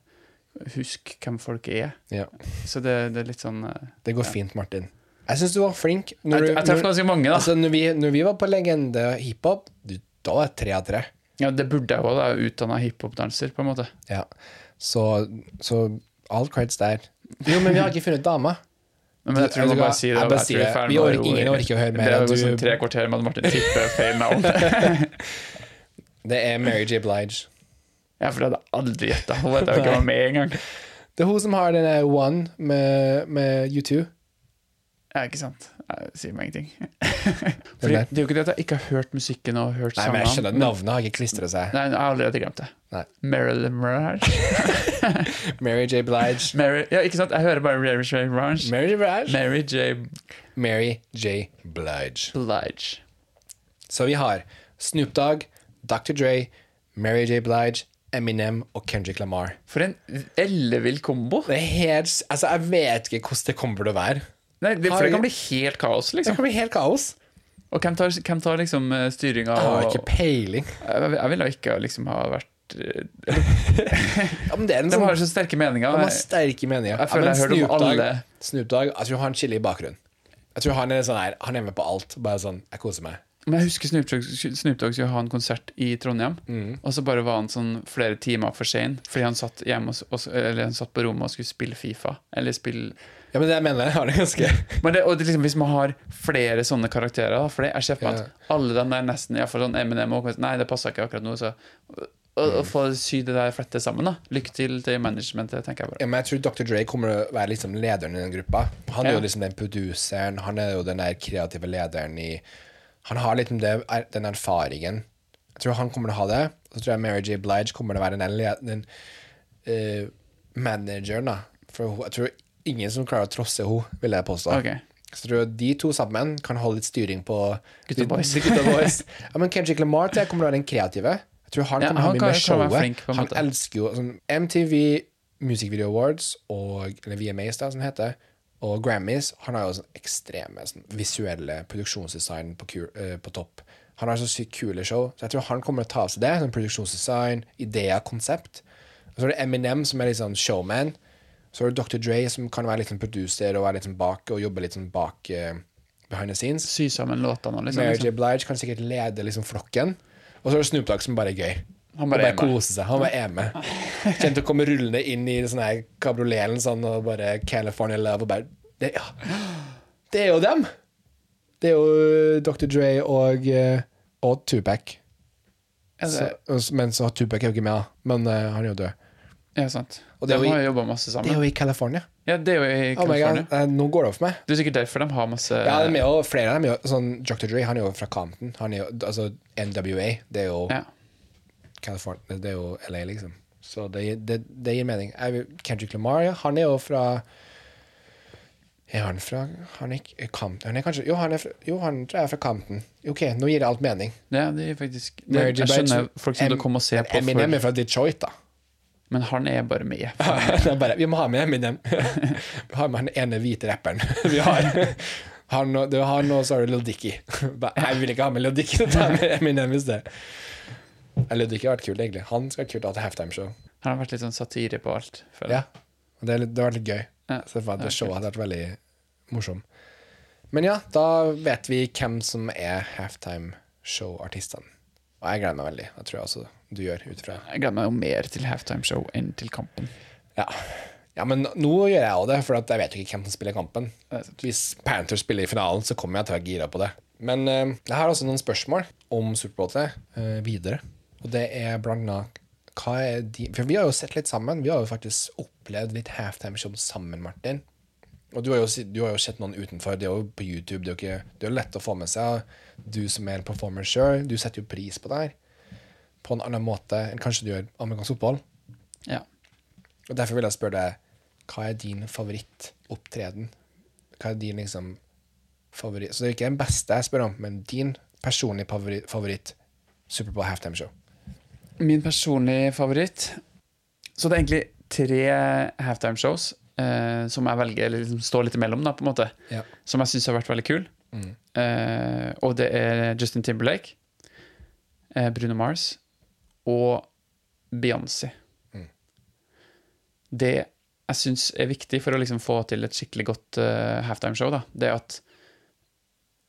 huske hvem folk er. Ja. Så det, det er litt sånn eh, Det går fint, Martin. Jeg syns du var flink. Når, Jeg, du- jeg treffer når, ganske mange, da. altså, når, vi, når vi var på Legende hiphop, du, da var det tre av tre. Ja, det burde jeg òg, da. Jeg er utdanna hiphopdanser, på en måte. Ja. Så, så all creds der. Jo, men vi har ikke funnet dama. Men jeg tror Vet jeg må du hva? bare si det. Jeg og bare jeg tror sier det. er ferdig Vi med orker- å roe ingen inn. orker å høre mer Det enn er jo du- sånn tre kvarter med at Martin tipper feil navn. Det er Mary J. Blige. Ja, for det hadde jeg aldri gjetta. Hun vet jeg jo ikke hva med engang. Det er hun som har den der One med, med U2. Ja, ikke sant. Jeg sier meg ingenting. Fordi, der. det er jo ikke det at jeg ikke har hørt musikken og hørt Nei, men jeg skjønner at sangene. Navnet har ikke klistra seg. Nei, jeg har allerede glemt det. Nei. Marilyn Mirage. Mary J. Blige. Mary, ja, ikke sant? Jeg hører bare Mary J. Mirage. Mary J. Blige. Mary J. Mary J. Blige. Blige. Så vi har Snoop Dogg, Dr. Dre, Mary J. Blige, Eminem og Kendrick Lamar. For en ellevill kombo. Det er helt, altså Jeg vet ikke hvordan det kommer til å være. Nei, det, Har for det vi- kan bli helt kaos, Det liksom. kan bli helt kaos. Og hvem tar, hvem tar liksom styringa? Jeg har og- Ah, ikke peiling. Jeg, jeg ville ikke liksom ha vært eh, Ja, men det er en De sånn, har så sterke meninger. de har sterke meninger. Jeg føler ja, men jeg hører om Snoop Dogg- alle. Snoop Dogg, altså, jeg tror han chiller i bakgrunnen. Jeg tror han er sånn her, han er med på alt. Bare sånn, jeg koser meg. Men jeg husker Snoop Dogg, Snoop Dogg skulle ha en konsert i Trondheim, Mm. og så bare var han sånn flere timer for sein fordi han satt, hjemme og, s- og, s- eller han satt på rommet og skulle spille Fifa. Eller spille Ja, men det jeg mener jeg. Har det ganske Men det, og det, liksom, Hvis man har flere sånne karakterer da, For det, Jeg ser for meg at alle de der nesten i hvert fall sånn Eminem og Nei, det passa ikke akkurat nå, så å, Mm. å få sy det der flette sammen, da. Lykke til til managementet, tenker jeg bare. Ja, men jeg tror Dr. Dre kommer til å være liksom lederen i den gruppa. Han er Ja. jo liksom den produseren, han er jo den der kreative lederen i Han har liksom det, er- den erfaringen. Jeg tror han kommer til å ha det. Og så tror jeg Mary J. Blige kommer til å være den, der le- den eh, manageren, da. For hun, jeg tror ingen som klarer å trosse henne, vil jeg påstå. Ok. Så jeg tror de to sammen kan holde litt styring på Gutta boys. de Gutta boys. ja, men Kendrick Lamar tror jeg kommer til å være den kreative. Jeg tror han Ja, kommer han til å ha mye kan- med kan være showet. flink, på en han måte. elsker jo sånn, MTV Music Video Awards og eller VMAs, da, som det heter, og Grammys. Han har jo sånn ekstreme sånn, visuelle produksjonsdesign på, ku- eh, på topp. Han har så sykt kule show, så jeg tror han kommer til å ta av seg det. Sånn produksjonsdesign, ideer, konsept. Og så er det Eminem, som er litt sånn showman. Så er det Dr. Dre, som kan være litt sånn produser og være litt sånn bak og jobbe litt sånn bak eh, behind the scenes. Sy sammen låtene og liksom. Mary liksom. J. Blige kan sikkert lede liksom flokken. Og så er det Snoop Dogg som bare er gøy. Han Han bare bare, er med. koser seg. Han bare er med. Kjente til å komme rullende inn i sånn her kabrioleten sånn, og bare California love og bare det, ja. det er jo dem! Det er jo eh, Dr. Dre og, eh, og Tupac. Er det- Så, og- men så Tupac er jo ikke med, da. men eh, han er jo død. Ja, sant. Og de det er jo i- har jo jobba masse Det sammen. er jo i California. Ja, det er jo i Oh my God. California. eh, Nå går det opp for meg. det er sikkert derfor de har masse Ja, det er med, og flere av dem er jo sånn Dr. Dre, han er jo fra Compton. Han er jo, altså NWA, det er jo Ja. California, det er jo LA, liksom. Så det, det, det gir mening. Jeg, vil- Kendrick Lamar, ja, han er jo fra Er han fra Han er, ikke- Compton, han er kanskje Jo, han, er fra, jo, han tror jeg er fra Compton. OK, nå gir det alt mening. Ja, det er faktisk det, Mary J. Jeg skjønner Blige- folk som Em- du kom og se på Eminem er for, fra Detroit, da. Men han er bare med Det er bare, vi må ha med Eminem. Vi har med han ene hvite rapperen vi har. Han og, det var han og så har du Lil Dicky. Bare, Jeg vil ikke ha med Lil Dicky, ta med Eminem i sted. Ja, Lil Dicky har vært kult, egentlig. Han skal ha kult ha til halftimeshow. Han har vært litt sånn satire på alt føler Ja. jeg. Og Det, er litt- det har vært litt gøy. Ja, Så for at det er det showet hadde vært veldig morsom. Men ja, da vet vi hvem som er halftimeshow-artistene. Og jeg gleder meg veldig. Det tror jeg også du gjør, ut ifra Jeg gleder meg jo mer til halftimeshow enn til kampen Ja. ja, men nå gjør jeg jo det, for at jeg vet jo ikke hvem som spiller kampen. Det er sant. Hvis Panthers spiller i finalen, så kommer jeg til å være gira på det. Men eh, jeg har også noen spørsmål om Superbowl til eh, videre. Og det er blant annet hva er de, For vi har jo sett litt sammen. Vi har jo faktisk opplevd litt halftimeshow sammen, Martin. Og du har, jo, si- du har jo sett noen utenfor. Det er jo på YouTube. Det er jo, ikke, det er jo lett å få med seg. Du som er en performer sjøl, du setter jo pris på det her på en annen måte enn kanskje du gjør amerikansk fotball. ja. Og Derfor vil jeg spørre deg, hva er din favorittopptreden? Hva er din liksom favoritt Så det er ikke den beste jeg spør om, men din personlige favoritt, favoritt Superbowl halftime show. Min personlige favoritt Så det er egentlig tre halftimeshows eh, Som jeg velger, eller liksom står litt imellom da, på en måte Ja. Som jeg synes har vært veldig kul Eh, og det er Justin Timberlake, eh, Bruno Mars og Beyoncé. Det jeg syns er viktig for å liksom få til et skikkelig godt eh, halftimeshow, da, det er at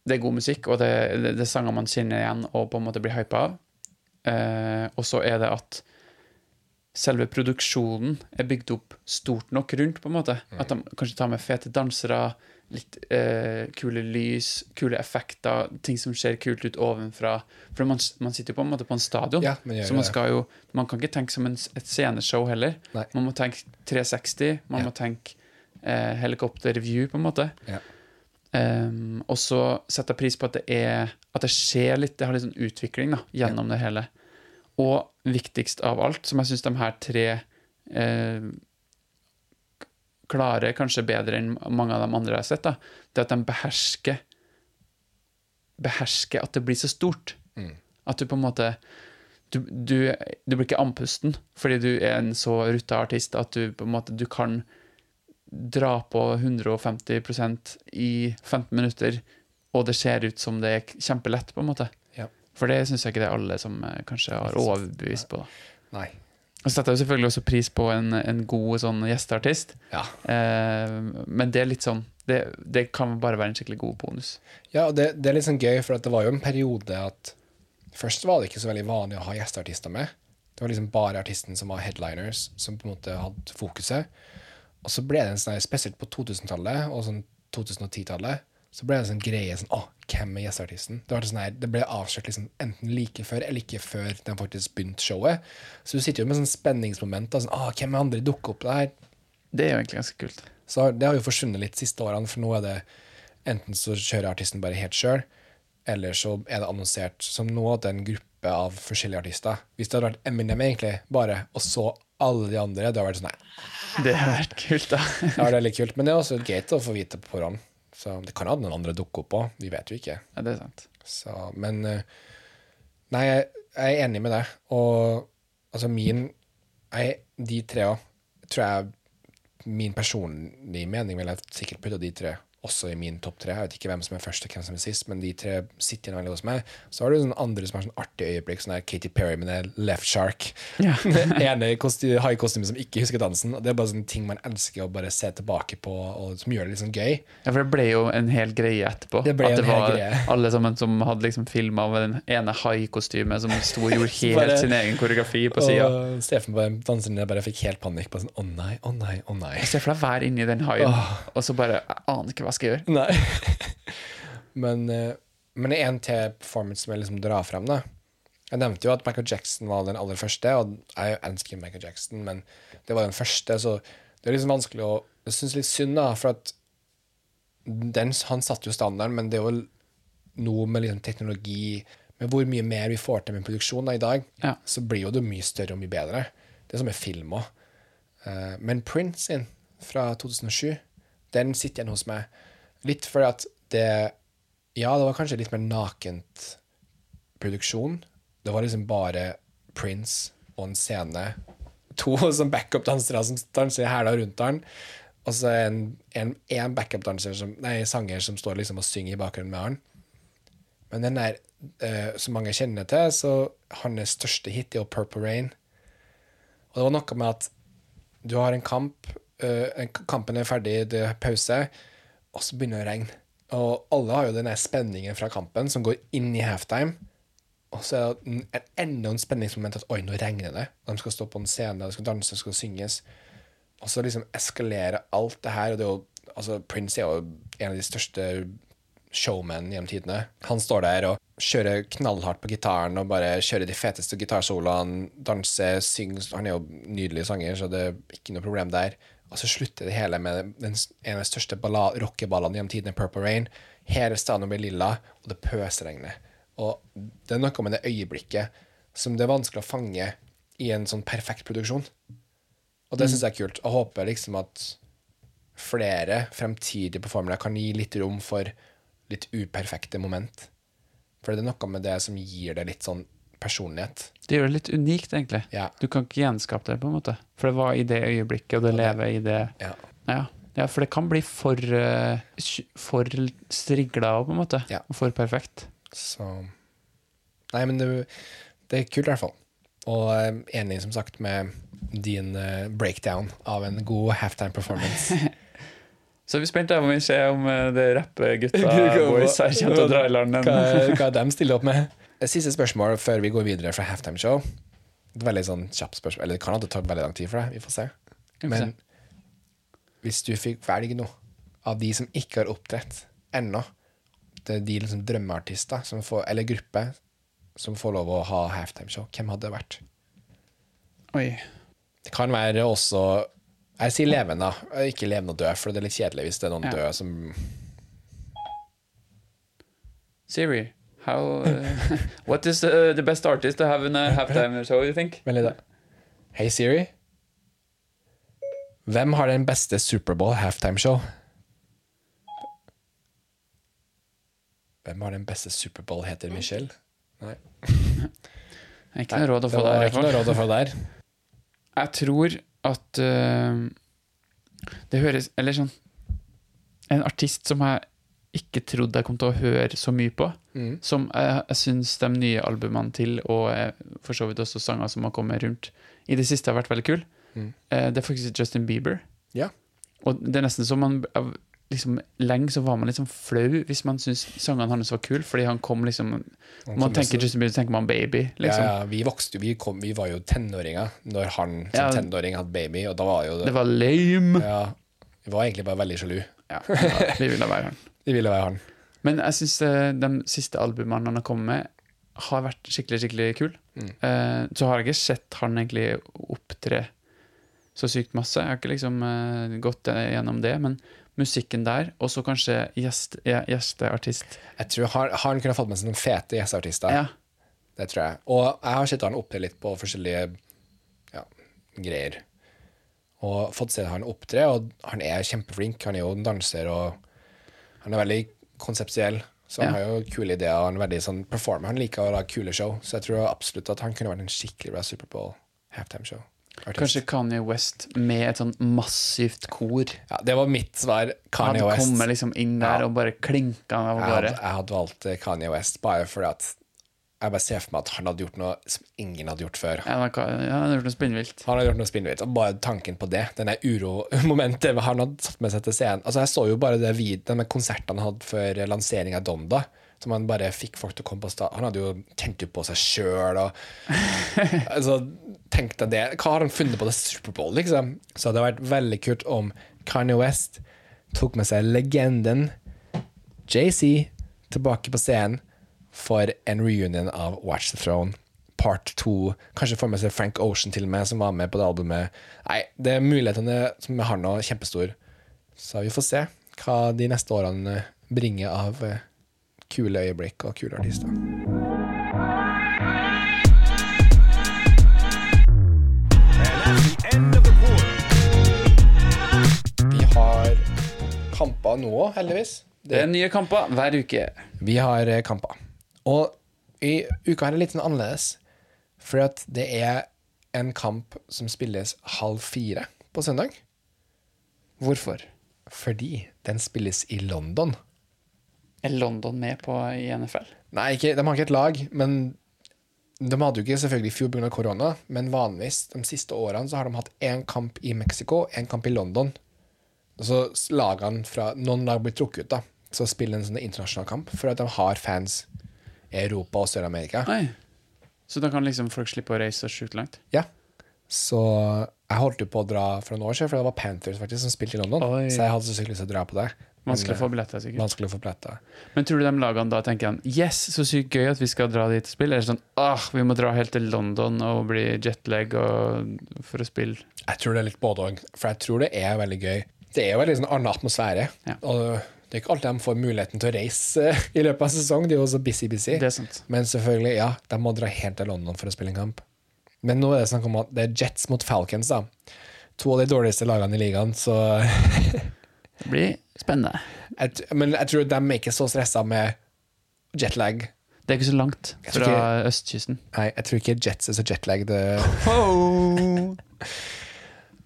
det er god musikk, og det, det, det er sanger man kjenner igjen og på en måte blir hypa av. Eh, og så er det at selve produksjonen er bygd opp stort nok rundt, på en måte. At de kanskje tar med fete dansere, litt eh, kule lys, kule effekter, ting som ser kult ut ovenfra. For man, man sitter jo på en måte på en stadion, Ja, man gjør så man, det. skal jo, man kan ikke tenke som en, et sceneshow heller. Nei. Man må tenke 360, man Ja. må tenke eh, helikopterview, på en måte. Ja. Ehm, og så setter jeg pris på at det, er, at det skjer litt, det har litt sånn utvikling da, gjennom det hele. Og viktigst av alt, som jeg syns de her tre eh, klarer kanskje bedre enn mange av de andre jeg har sett, da, det er at de behersker behersker at det blir så stort. At du på en måte du, du, du blir ikke andpusten fordi du er en så rutta artist at du på en måte du kan dra på 150 i 15 minutter, og det ser ut som det er kjempelett, på en måte. Ja. For det syns jeg ikke det er alle som eh, kanskje har overbevist på. da. Nei. Og så setter jeg jo selvfølgelig også pris på en, en god sånn gjesteartist, Ja. eh, men det er litt sånn det, det kan bare være en skikkelig god bonus. Ja, og det, det er litt sånn gøy, for at det var jo en periode at Først var det ikke så veldig vanlig å ha gjesteartister med. Det var liksom bare artisten som var headliners, som på en måte hadde fokuset. Og så ble det en sånn her, spesielt på 2000-tallet og sånn 2010-tallet, så ble det en sånn greie sånn Å, hvem er gjesteartisten? Det, var sånn her, det ble avslørt liksom enten like før eller ikke før de faktisk begynte showet. Så du sitter jo med sånn spenningsmoment. Da, sånn, Å, hvem er andre dukker opp der? Det er jo egentlig ganske kult. Så har- det har jo forsvunnet litt de siste årene, for nå er det enten så kjører artisten bare helt sjøl, eller så er det annonsert som nå at det er en gruppe av forskjellige artister. Hvis det hadde vært Eminem egentlig, bare, og så alle de andre, det hadde vært sånn Nei, Det hadde vært kult, da. det er litt kult. Men det er også greit å få vite på forhånd. Så det kan jo hende noen andre dukker opp òg. Vi vet jo ikke. Ja, det er sant. Så, men eh, Nei, jeg, jeg er enig med deg. Og altså min jeg, De tre òg, tror jeg Min personlige mening vil jeg sikkert putte de tre også i min topp tre. Jeg vet ikke hvem som er først og hvem som er sist, men de tre sitter igjen veldig hos meg. Så har du sånne andre som har sånn artige øyeblikk, sånn der Katy Perry med det Left Shark. Ja. Den ene i kosti- har i kostyme som ikke husker dansen. Og det er bare sånne ting man elsker å bare se tilbake på, og som gjør det litt sånn gøy. Ja, for det ble jo en hel greie etterpå. Det ble at det en hel var greie. alle sammen som hadde liksom filma med den ene haikostymet som sto og gjorde helt Bare- sin egen koreografi på sida. Og Steffen på den danseren der bare fikk helt panikk. Bare sånn, å nei, å nei, å nei. Se for deg å være inni den haien, og så bare Jeg aner ikke hva jeg skal gjøre. Nei. men, eh, men det er en til performance som jeg liksom drar frem, da. Jeg nevnte jo at Michael Jackson var den aller første, og jeg elsker Michael Jackson, men det var den første, så det er liksom vanskelig å Jeg syns litt synd, da, for at den, han satte jo standarden, men det er jo noe med liksom teknologi Med hvor mye mer vi får til med produksjon da, i dag, Ja. så blir jo det mye større og mye bedre. Det er som med film òg. Eh, men Prince sin fra 2007, den sitter igjen hos meg. Litt fordi at det Ja, det var kanskje litt mer nakent produksjon. Det var liksom bare Prince og en scene. To som backup-dansere som danser i hæla rundt han. Og så en, en, en backup-danser som, nei, sanger som står liksom og synger i bakgrunnen med han. Men den der eh, som mange kjenner til, så hans største hit er jo 'Purple Rain'. Og det var noe med at du har en kamp, eh, en- kampen er ferdig, det er pause, og så begynner det å regne. Og alle har jo den der spenningen fra kampen som går inn i halftime. Og så er det en- en- enda en spenningsmoment at oi, nå regner det. Og de skal stå på en scene, de skal danse, det skal synges. Og så liksom eskalerer alt det her. Og det er jo, altså Prince er jo en av de største showmen gjennom tidene. Han står der og kjører knallhardt på gitaren og bare kjører de feteste gitarsoloene, danser, synger Han er jo nydelig sanger, så det er ikke noe problem der. Og så slutter det hele med den, en av de største balla- rockeballene gjennom tidene, Purple Rain. Hele stadion blir lilla, og det pøsregner. Og det er noe med det øyeblikket som det er vanskelig å fange i en sånn perfekt produksjon. Og det syns jeg er kult. Og håper liksom at flere fremtidige performere kan gi litt rom for litt uperfekte moment. For det er noe med det som gir det litt sånn personlighet. Det gjør det litt unikt, egentlig. Ja. Du kan ikke gjenskape det, på en måte. For det var i det øyeblikket, og det lever i det Ja. Ja, det Ja, for det kan bli for, eh, tj- for strigla òg, på en måte. Ja. Og For perfekt. Så Nei, men det, det er kult, i hvert fall. Og jeg er enig, som sagt, med din eh, breakdown av en god halftime performance. Så vi er spent på om vi ser om eh, det rappegutta Hva- boys her kommer til å dra i land Hva, en hva de stiller opp med. Siste spørsmål før vi går videre fra halftimeshow. Et veldig sånn kjapt spørsmål. Eller det kan at det tar veldig lang tid for deg. Vi får se. får Men hvis du fikk velge noe av de som ikke har opptrett ennå, det er de liksom drømmeartister som får, eller grupper som får lov å ha halftimeshow, hvem hadde det vært? Oi. Det kan være også Jeg sier levende, ikke levende og død, for det er litt kjedelig hvis det er noen Ja. døde som Siri, how eh, What is the, the best artist to have in a halftime show, you think? Vent litt, da. Hei, Siri. Hvem har den beste Superbowl halftimeshow? Hvem har den beste Superbowl, heter Michelle? Nei, Ikke noe råd å det få der. var i hvert ikke fall. noe råd å få der. Jeg tror at eh, det høres Eller sånn En artist som jeg ikke trodde jeg kom til å høre så mye på, Mm. som jeg, jeg syns de nye albumene til, og eh, for så vidt også sanger som har kommet rundt i det siste, har vært veldig kul Mm. Eh, det er faktisk Justin Bieber. Ja. Og det er nesten som man av- liksom, Lenge så var man litt sånn flau hvis man syntes sangene hans var kule, fordi han kom liksom Man tenker Justin Bieber, så tenker man baby, liksom. ja, ja, vi vokste jo, vi, kom, vi var jo tenåringer når han som Ja. tenåring hadde baby, og da var jo Det det var lame! Ja, vi var egentlig bare veldig sjalu. Ja, ja vi ville være han. Vi ville være han. Men jeg syns de siste albumene han har kommet med, har vært skikkelig skikkelig kul. Mm. Eh, så har jeg ikke sett han egentlig opptre så sykt masse. Jeg har ikke liksom eh, gått eh, gjennom det, men musikken der, og så kanskje gjest, ja, gjesteartist. Jeg tror han, han kunne fått med seg noen fete gjesteartister. Ja. Det tror jeg. Og jeg har sett han opptre litt på forskjellige ja, greier. Og fått se han opptre, og han er kjempeflink. Han er jo en danser, og han er veldig konseptuell. Så han Ja. har jo kule ideer, og han er veldig sånn performer. Han liker å lage kule show, så jeg tror absolutt at han kunne vært en skikkelig bra Superbowl halftime-show. Kanskje Kanye West med et sånn massivt kor. Ja, det var mitt svar. Kanye han West. kommer liksom inn der Ja. og bare klinker han av Jeg hadde, gårde. jeg hadde valgt eh, Kanye West bare fordi at jeg bare ser for meg at han hadde gjort noe som ingen hadde gjort før. Ja, han har ja, han har gjort noe spinnvilt. Han har gjort noe spinnvilt. Og bare tanken på det, den der uromomentet han hadde satt med seg til scenen Altså, Jeg så jo bare det vid den konserten han hadde for lansering av Donda. Som han bare fikk folk til å komme på stad. Han hadde jo tent jo på seg sjøl og altså, Tenk deg det. Hva har han funnet på det Superbowl, liksom? Så det hadde vært veldig kult om Kanye West tok med seg legenden JC tilbake på scenen for en reunion av Watch the Throne. Part 2. Kanskje får med seg Frank Ocean til og med, som var med på det albumet. Nei, det er mulighetene som vi har nå, er kjempestor. Så vi får se hva de neste årene bringer av eh, kule øyeblikk og kule artister. And that's the end of the quarter. Vi har kamper nå òg, heldigvis. Det er nye kamper hver uke. Vi har eh, kamper. Og i uka her er det litt sånn annerledes. For at det er en kamp som spilles halv fire på søndag. Hvorfor? Fordi den spilles i London. Er London med på i NFL? Nei, ikke, de har ikke et lag, men de hadde jo ikke selvfølgelig i fjor pga. korona, men vanligvis de siste årene så har de hatt én kamp i Mexico, én kamp i London. Og så s- lagene fra Noen lag blir trukket ut, da. Så spiller en sånn internasjonal kamp for at de har fans i Europa og Sør-Amerika. Nei. Så da kan liksom folk slippe å reise så sjukt langt? Ja. Så jeg holdt jo på å dra for noen år siden, for det var Panthers faktisk som spilte i London. Oi. Så jeg hadde så sykt lyst til å dra på det. Men, Vanskelig å få eh, billetter, sikkert. Vanskelig å få billetter. Men tror du de lagene da tenker han, Yes, så sykt gøy at vi skal dra dit og spille? Eller sånn ah, vi må dra helt til London og bli jetlag og for å spille? Jeg tror det er litt både òg, for jeg tror det er veldig gøy. Det er jo veldig sånn annen atmosfære. Ja. Og det er ikke alltid de får muligheten til å reise eh, i løpet av sesong. De er jo så busy, busy. Det er sant. Men selvfølgelig, ja, de må dra helt til London for å spille en kamp. Men nå er det snakk om at det er Jets mot Falcons, da. To av de dårligste lagene i ligaen, så Det blir spennende. jeg, t- Men jeg tror de er ikke så stressa med jetlag. Det er ikke så langt Jeg tror fra østkysten. Nei, jeg tror ikke Jets er så jetlagd. eh. Oh.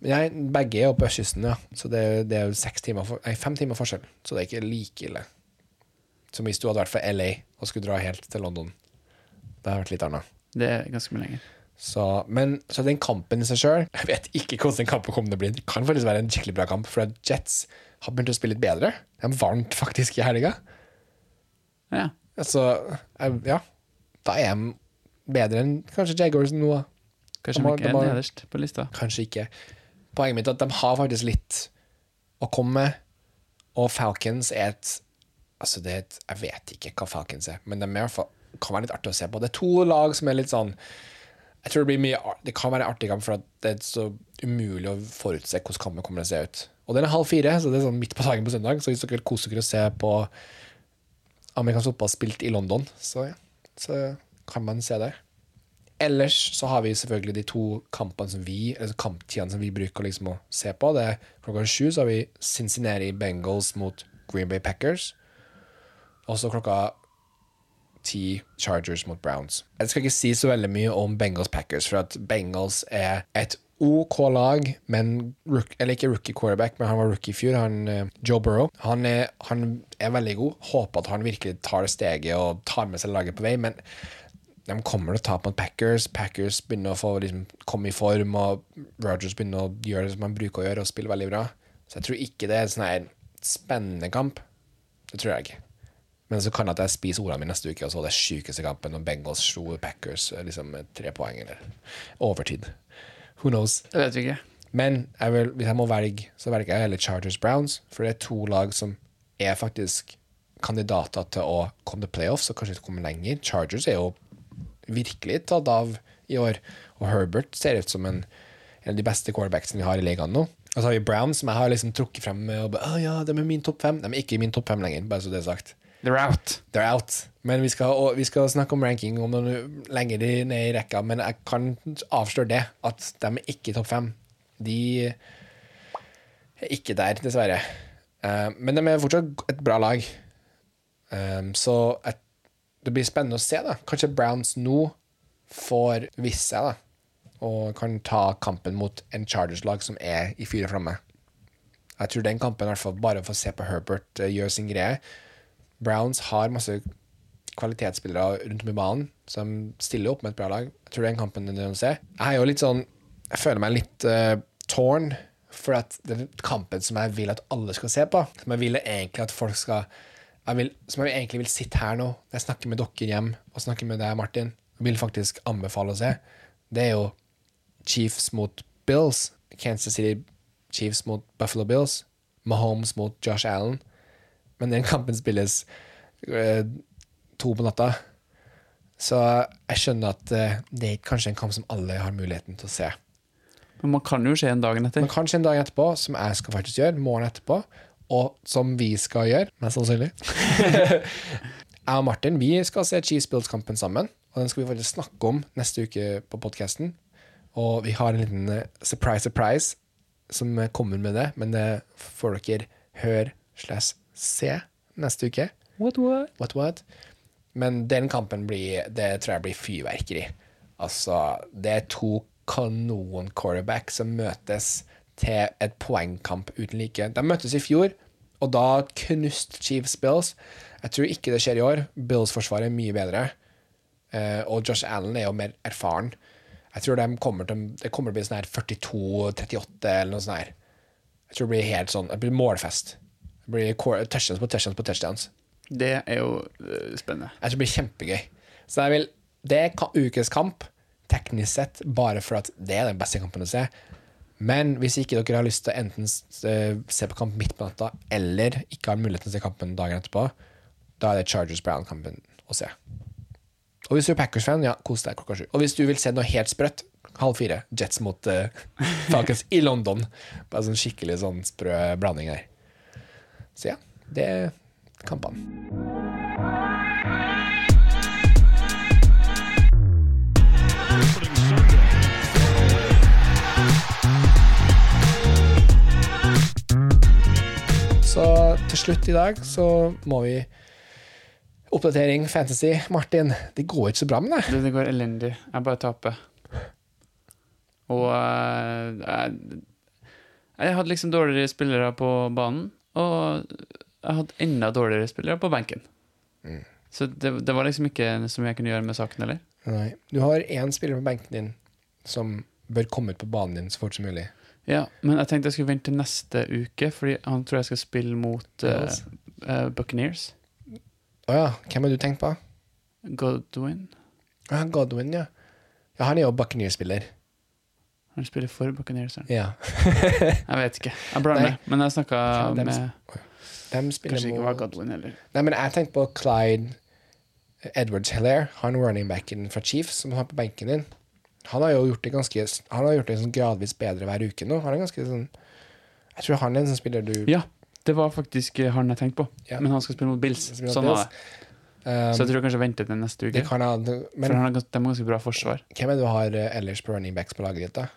Nei, begge er jo på østkysten, ja. Så det, er- det er jo seks timer for, nei, fem timer forskjell. Så det er ikke like ille som hvis du hadde vært fra LA og skulle dra helt til London. Det hadde vært litt annet. Det er ganske mye lenger. Så, men, så den kampen i seg sjøl Jeg vet ikke hvordan den kampen kommer til å bli. Det kan faktisk være en skikkelig bra kamp, for at Jets har begynt å spille litt bedre. De vant faktisk i helga. Ja. Altså, jeg, ja Da er de bedre enn kanskje Jaguars nå. da. Kanskje De har- de ikke de har- er nederst på lista. Kanskje ikke. Poenget mitt er at de har faktisk litt å komme med, og Falcons er et Altså, det er et Jeg vet ikke hva Falcons er, men de er i hvert fall, kan være litt artig å se på. Det er to lag som er litt sånn Jeg tror det blir mye ar- Det kan være artig kamp, for at det er så umulig å forutse hvordan kampen kommer til å se ut. Og den er halv fire, så det er sånn midt på dagen på søndag, så hvis dere vil kose dere og se på amerikansk fotball spilt i London, så, ja, så kan man se det. Ellers så har vi selvfølgelig de to kampene som vi Eller kamptidene som vi bruker liksom å se på. Det er Klokka sju så har vi Cincinnati Bengals mot Green Bay Packers. Og så klokka ti Chargers mot Browns. Jeg skal ikke si så veldig mye om Bengals Packers, for at Bengals er et OK lag, men rook, eller ikke rookie quarterback, men han var rookie i fjor, han eh, Joe Burrow. Han er, han er veldig god. Håper at han virkelig tar steget og tar med seg laget på vei, men de kommer til å tape mot Packers. Packers begynner å få, liksom, komme i form, og Rogers begynner å gjøre det som han bruker å gjøre, og spille veldig bra. Så jeg tror ikke det er en sånn her spennende kamp. Det tror jeg ikke. Men så kan det at jeg spiser ordene mine neste uke, og så var det sjukeste kampen når Bengals slo Packers eh, liksom, med tre poeng eller overtid. Who knows? Det vet vi ikke. Men jeg vil, hvis jeg må velge, så velger jeg heller Chargers Browns. For det er to lag som er faktisk kandidater til å komme til playoffs og kanskje komme lenger. Chargers er jo virkelig tatt av i år. Og Herbert ser ut som en, en av de beste quarterbacksene vi har i ligaen nå. Og så har vi Browns, som jeg har liksom trukket frem med og bare, «Å ja, de er min topp fem. De er ikke i min topp fem lenger, bare så det er sagt. They're out. They're out. Men vi skal, og vi skal snakke om ranking om noen lenger i- ned i rekka, men jeg kan avsløre det, at de er ikke i topp fem. De er ikke der, dessverre. Eh, Men de er fortsatt et bra lag. Eh, Så jeg- det blir spennende å se, da. Kanskje Browns nå får vist seg, da. Og kan ta kampen mot en Chargers-lag som er i fire framme. Jeg tror den kampen, i hvert fall bare for å se på Herbert eh, gjøre sin greie, Browns har masse kvalitetsspillere rundt om i banen som stiller opp med et bra lag. Jeg tror den kampen er nødvendig å se. Jeg er jo litt sånn Jeg føler meg litt eh, torn, for at det er kampen som jeg vil at alle skal se på. Som jeg vil egentlig at folk skal jeg vil, Som jeg egentlig vil sitte her nå, når jeg snakker med dere hjem, og snakker med deg, Martin, og vil faktisk anbefale å se, det er jo Chiefs mot Bills. Kansas City Chiefs mot Buffalo Bills. Mahomes mot Josh Allen. Men den kampen spilles eh, to på natta. Så jeg skjønner at eh, det er kanskje en kamp som alle har muligheten til å se. Men man kan jo se en dagen etter. Men kanskje en dag etterpå, som jeg skal faktisk gjøre, morgen etterpå, og som vi skal gjøre, mest sannsynlig. jeg og Martin vi skal se Chiefs Bills-kampen sammen, og den skal vi faktisk snakke om neste uke på podkasten. Og vi har en liten eh, surprise, surprise som eh, kommer med det, men det får dere høre slash se neste uke. What, what? What, what? Men den kampen blir, det tror jeg blir fyrverkeri. Altså, det er to kanon-quarterback som møtes til et poengkamp uten like. De møttes i fjor, og da knuste Chiefs Bills. Jeg tror ikke det skjer i år. Bills-forsvaret er mye bedre. Eh, og Josh Allen er jo mer erfaren. Jeg tror de kommer til, det kommer til å bli sånn her 42-38 eller noe sånt her. Jeg tror det blir helt sånn, det blir målfest. Det blir quar- touchdowns på touchdowns på touchdowns. Det er jo øh, spennende. Jeg tror det blir kjempegøy. Så jeg vil, det er ka- ukes kamp, teknisk sett, bare for at det er den beste kampen å se. Men hvis ikke dere har lyst til å enten s- eh, se på kamp midt på natta, eller ikke har muligheten til å se kampen dagen etterpå, da er det Chargers-Brown-kampen å se. Og hvis du er Packers-fan, ja, kos deg klokka sju. Og hvis du vil se noe helt sprøtt, halv fire, Jets mot eh, Falcons i London. Bare sånn skikkelig sånn sprø blanding her. Så ja, det er kampene. Opening Sunday. Så til slutt i dag så må vi Oppdatering fantasy. Martin, det går ikke så bra med deg. Det, det går elendig. eh, Jeg bare taper. Og øh, jeg, Jeg hadde liksom dårligere spillere på banen, og jeg hadde enda dårligere spillere på benken. Mm. Så det, det var liksom ikke så mye jeg kunne gjøre med saken heller. Nei. Du har én spiller på benken din som bør komme ut på banen din så fort som mulig. Ja, men jeg tenkte jeg skulle vente til neste uke, fordi han tror jeg skal spille mot eh, Yes. eh, Buccaneers. Å ja, hvem har du tenkt på? Godwin. Å ja, Godwin, ja. Ja, Han er jo Buccaneer-spiller. Han spiller for Buccaneers. eller? Ja. Jeg vet ikke. Jeg blander, men jeg snakka Kanskje med dem De spiller Kanskje ikke var mot Godwin heller. Nei, men jeg tenkte på Clyde Edwards Heller, han running backen fra Chiefs, som har på benken din. Han har jo gjort det ganske Han har gjort det sånn gradvis bedre hver uke nå. Han er ganske sånn Jeg tror han er en sånn spiller du Ja, det var faktisk eh, han jeg tenkte på, Ja. men han skal spille mot Bills. Spiller mot Sånn Bills. var det. um, Så jeg tror jeg kanskje jeg venter til neste uke. Det kan ha for Men han har gans- de har ganske bra forsvar. hvem er det du har eh, ellers på running backs på laget ditt, da?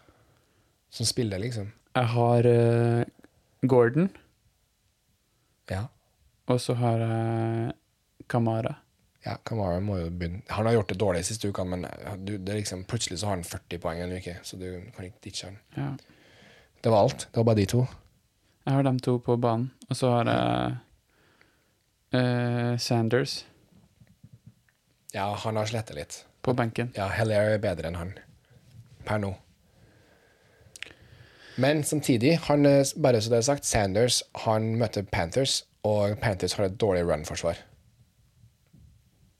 Som spiller, liksom? Jeg har eh, Gordon, Ja. og så har jeg Kamara. Ja, Kamara må jo begynne Han har gjort det dårlig siste uka, men eh, du, det er liksom, plutselig så har han 40 poeng en uke, så du kan ikke ditche han. Ja. Det var alt. Det var bare de to. Jeg har dem to på banen, og så har jeg eh, Sanders Ja, han har sletta litt. på benken. Ja, Heller er bedre enn han per nå. Men samtidig, han, eh, bare så det er sagt, Sanders han møter Panthers, og Panthers har et dårlig run-forsvar.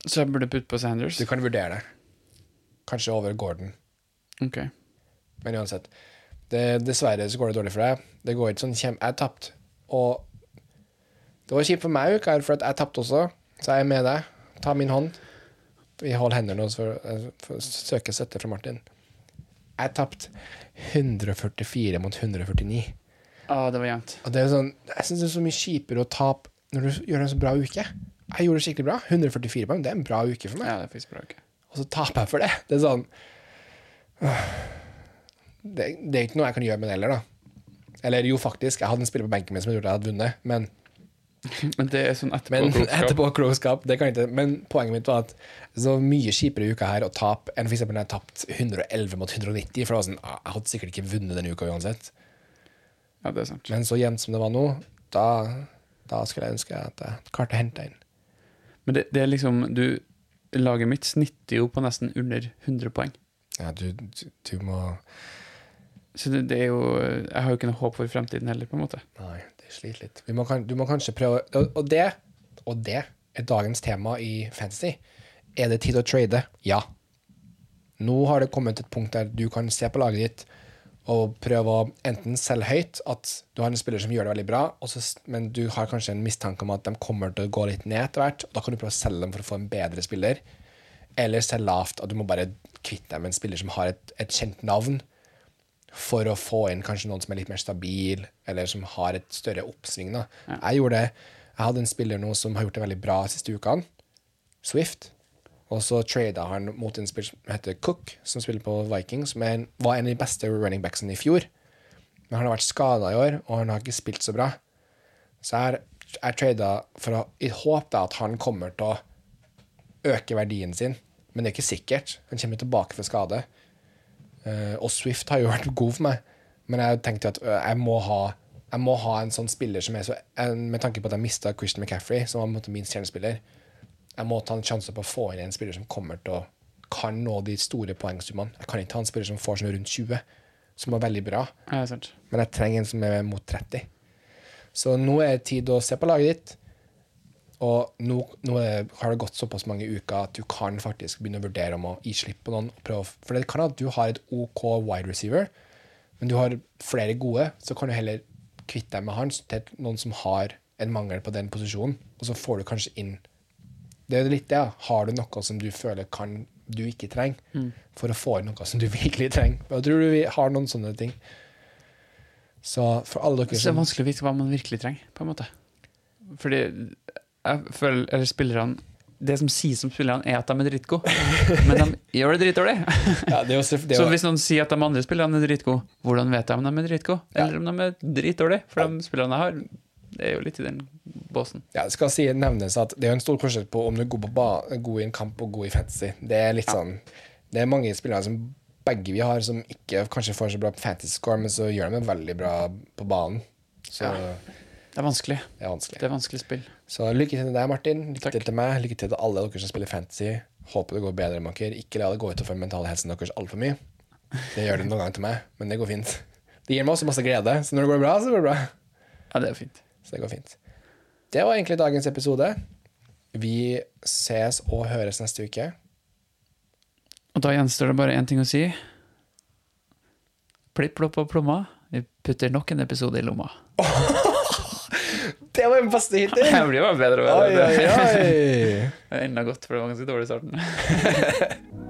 Så jeg burde putte på Sanders. Du kan vurdere det. Kanskje over Gordon. Ok. Men uansett. Det, dessverre så går det dårlig for deg. Det går ikke sånn kjem... Jeg tapte. Og det var kjipt for meg, uka her, for at jeg tapte også. Så jeg er med deg. Ta min hånd. Vi holder hendene nå for, for å søke støtte fra Martin. Jeg tapte 144 mot 149. Ah, det var jevnt. Og det er sånn, jeg syns det er så mye kjipere å tape når du gjør en så bra uke. Jeg gjorde det skikkelig bra. 144 poeng, det er en bra uke for meg. Ja, det er faktisk bra. ok. Og så taper jeg for det. Det er sånn øh, det, det er ikke noe jeg kan gjøre med det heller, da. Eller jo, faktisk. Jeg hadde en spiller på benken min som hadde gjort at jeg hadde vunnet, men, Men det er sånn etterpå. men etterpåklokskap det kan jeg ikke. Men poenget mitt var at så mye kjipere uka her å tape enn f.eks. når jeg tapte 111 mot 190. For det var sånn, ah, jeg hadde sikkert ikke vunnet denne uka uansett. Ja, det er sant. Men så jevnt som det var nå, da, da skulle jeg ønske at jeg klarte å hente inn. Men det, det er liksom du, Laget mitt snitter jo på nesten under 100 poeng. Ja, du, du, du må Så det, det er jo Jeg har jo ikke noe håp for fremtiden heller, på en måte. Nei, det sliter litt. Vi må, kan- du må kanskje prøve og, og det Og det er dagens tema i fantasy. Er det tid å trade? Ja. Nå har det kommet til et punkt der du kan se på laget ditt og prøve å enten selge høyt at du har en spiller som gjør det veldig bra, og så, s- men du har kanskje en mistanke om at de kommer til å gå litt ned etter hvert, og da kan du prøve å selge dem for å få en bedre spiller. Eller selge lavt, at du må bare kvitte deg med en spiller som har et, et kjent navn for å få inn kanskje noen som er litt mer stabil, eller som har et større oppsving. Da. Jeg gjorde det. Jeg hadde en spiller nå som har gjort det veldig bra de siste ukene, Swift. Og så trada han mot en spiller som heter Cook, som spiller på Viking, som er en, var en av de beste running backsene i fjor. Men han har vært skada i år, og han har ikke spilt så bra. Så jeg, jeg trada for å, i håp da, at han kommer til å øke verdien sin, men det er ikke sikkert. Han kommer tilbake fra skade. Eh, og Swift har jo vært god for meg, men jeg tenkte jo at øh, jeg må ha jeg må ha en sånn spiller som er så en- Med tanke på at jeg mista Christian McCaffrey, som var på en måte min stjernespiller, jeg må ta en sjanse på å få inn en spiller som kommer til å kan nå de store poengsummene. Jeg kan ikke ha en spiller som får sånn rundt 20, som var veldig bra, Ja, det er sant. men jeg trenger en som er mot 30. Så nå er det tid å se på laget ditt, og nå, nå er, det- har det gått såpass mange uker at du kan faktisk begynne å vurdere om å gi slipp på noen. Og prøve, å- for det kan at du har et OK wide receiver, men du har flere gode, så kan du heller kvitte deg med han til noen som har en mangel på den posisjonen, og så får du kanskje inn Det er jo litt det. da. Har du noe som du føler kan du ikke trenger, for å få inn noe som du virkelig trenger? Jeg tror du vi har noen sånne ting. Så for alle dere Så det er som vanskelig å vite hva man virkelig trenger, på en måte. Fordi jeg føler Eller spillerne Det som sies om spillerne, er at de er dritgode, men de gjør det dritdårlig. ja, det er jo, selvf- det er Så jo- hvis noen sier at de andre spillerne er dritgode, hvordan vet jeg om de er dritgode? Eller om de er dritdårlige? For de spillerne jeg har, det er jo litt i den båsen. Ja, det skal si, nevnes at det er jo en stor forskjell på om du er god, på ba god i en kamp og god i fantasy. Det er litt sånn Det er mange spillere som begge vi har, som ikke kanskje får så bra fantasy-score, men så gjør de det veldig bra på banen. Så Det er vanskelig. det er vanskelig. Det er vanskelig spill. Så lykke til til deg, Martin. Lykke Takk. til til meg. Lykke til til alle dere som spiller fantasy. Håper det går bedre med dere. Ikke la det gå utover den mentale helsen deres altfor mye. Det gjør det noen ganger til meg, men det går fint. Det gir meg også masse glede, så når det går bra, så går det bra. Ja, det er fint. Så det går fint. Det var egentlig dagens episode. Vi ses og høres neste uke. Og da gjenstår det bare én ting å si. Plipp, plopp og plomma. Vi putter nok en episode i lomma. Det var den beste hittil! blir bare bedre og Oi, oi, oi! Det er enda godt, for det var ganske dårlig i starten.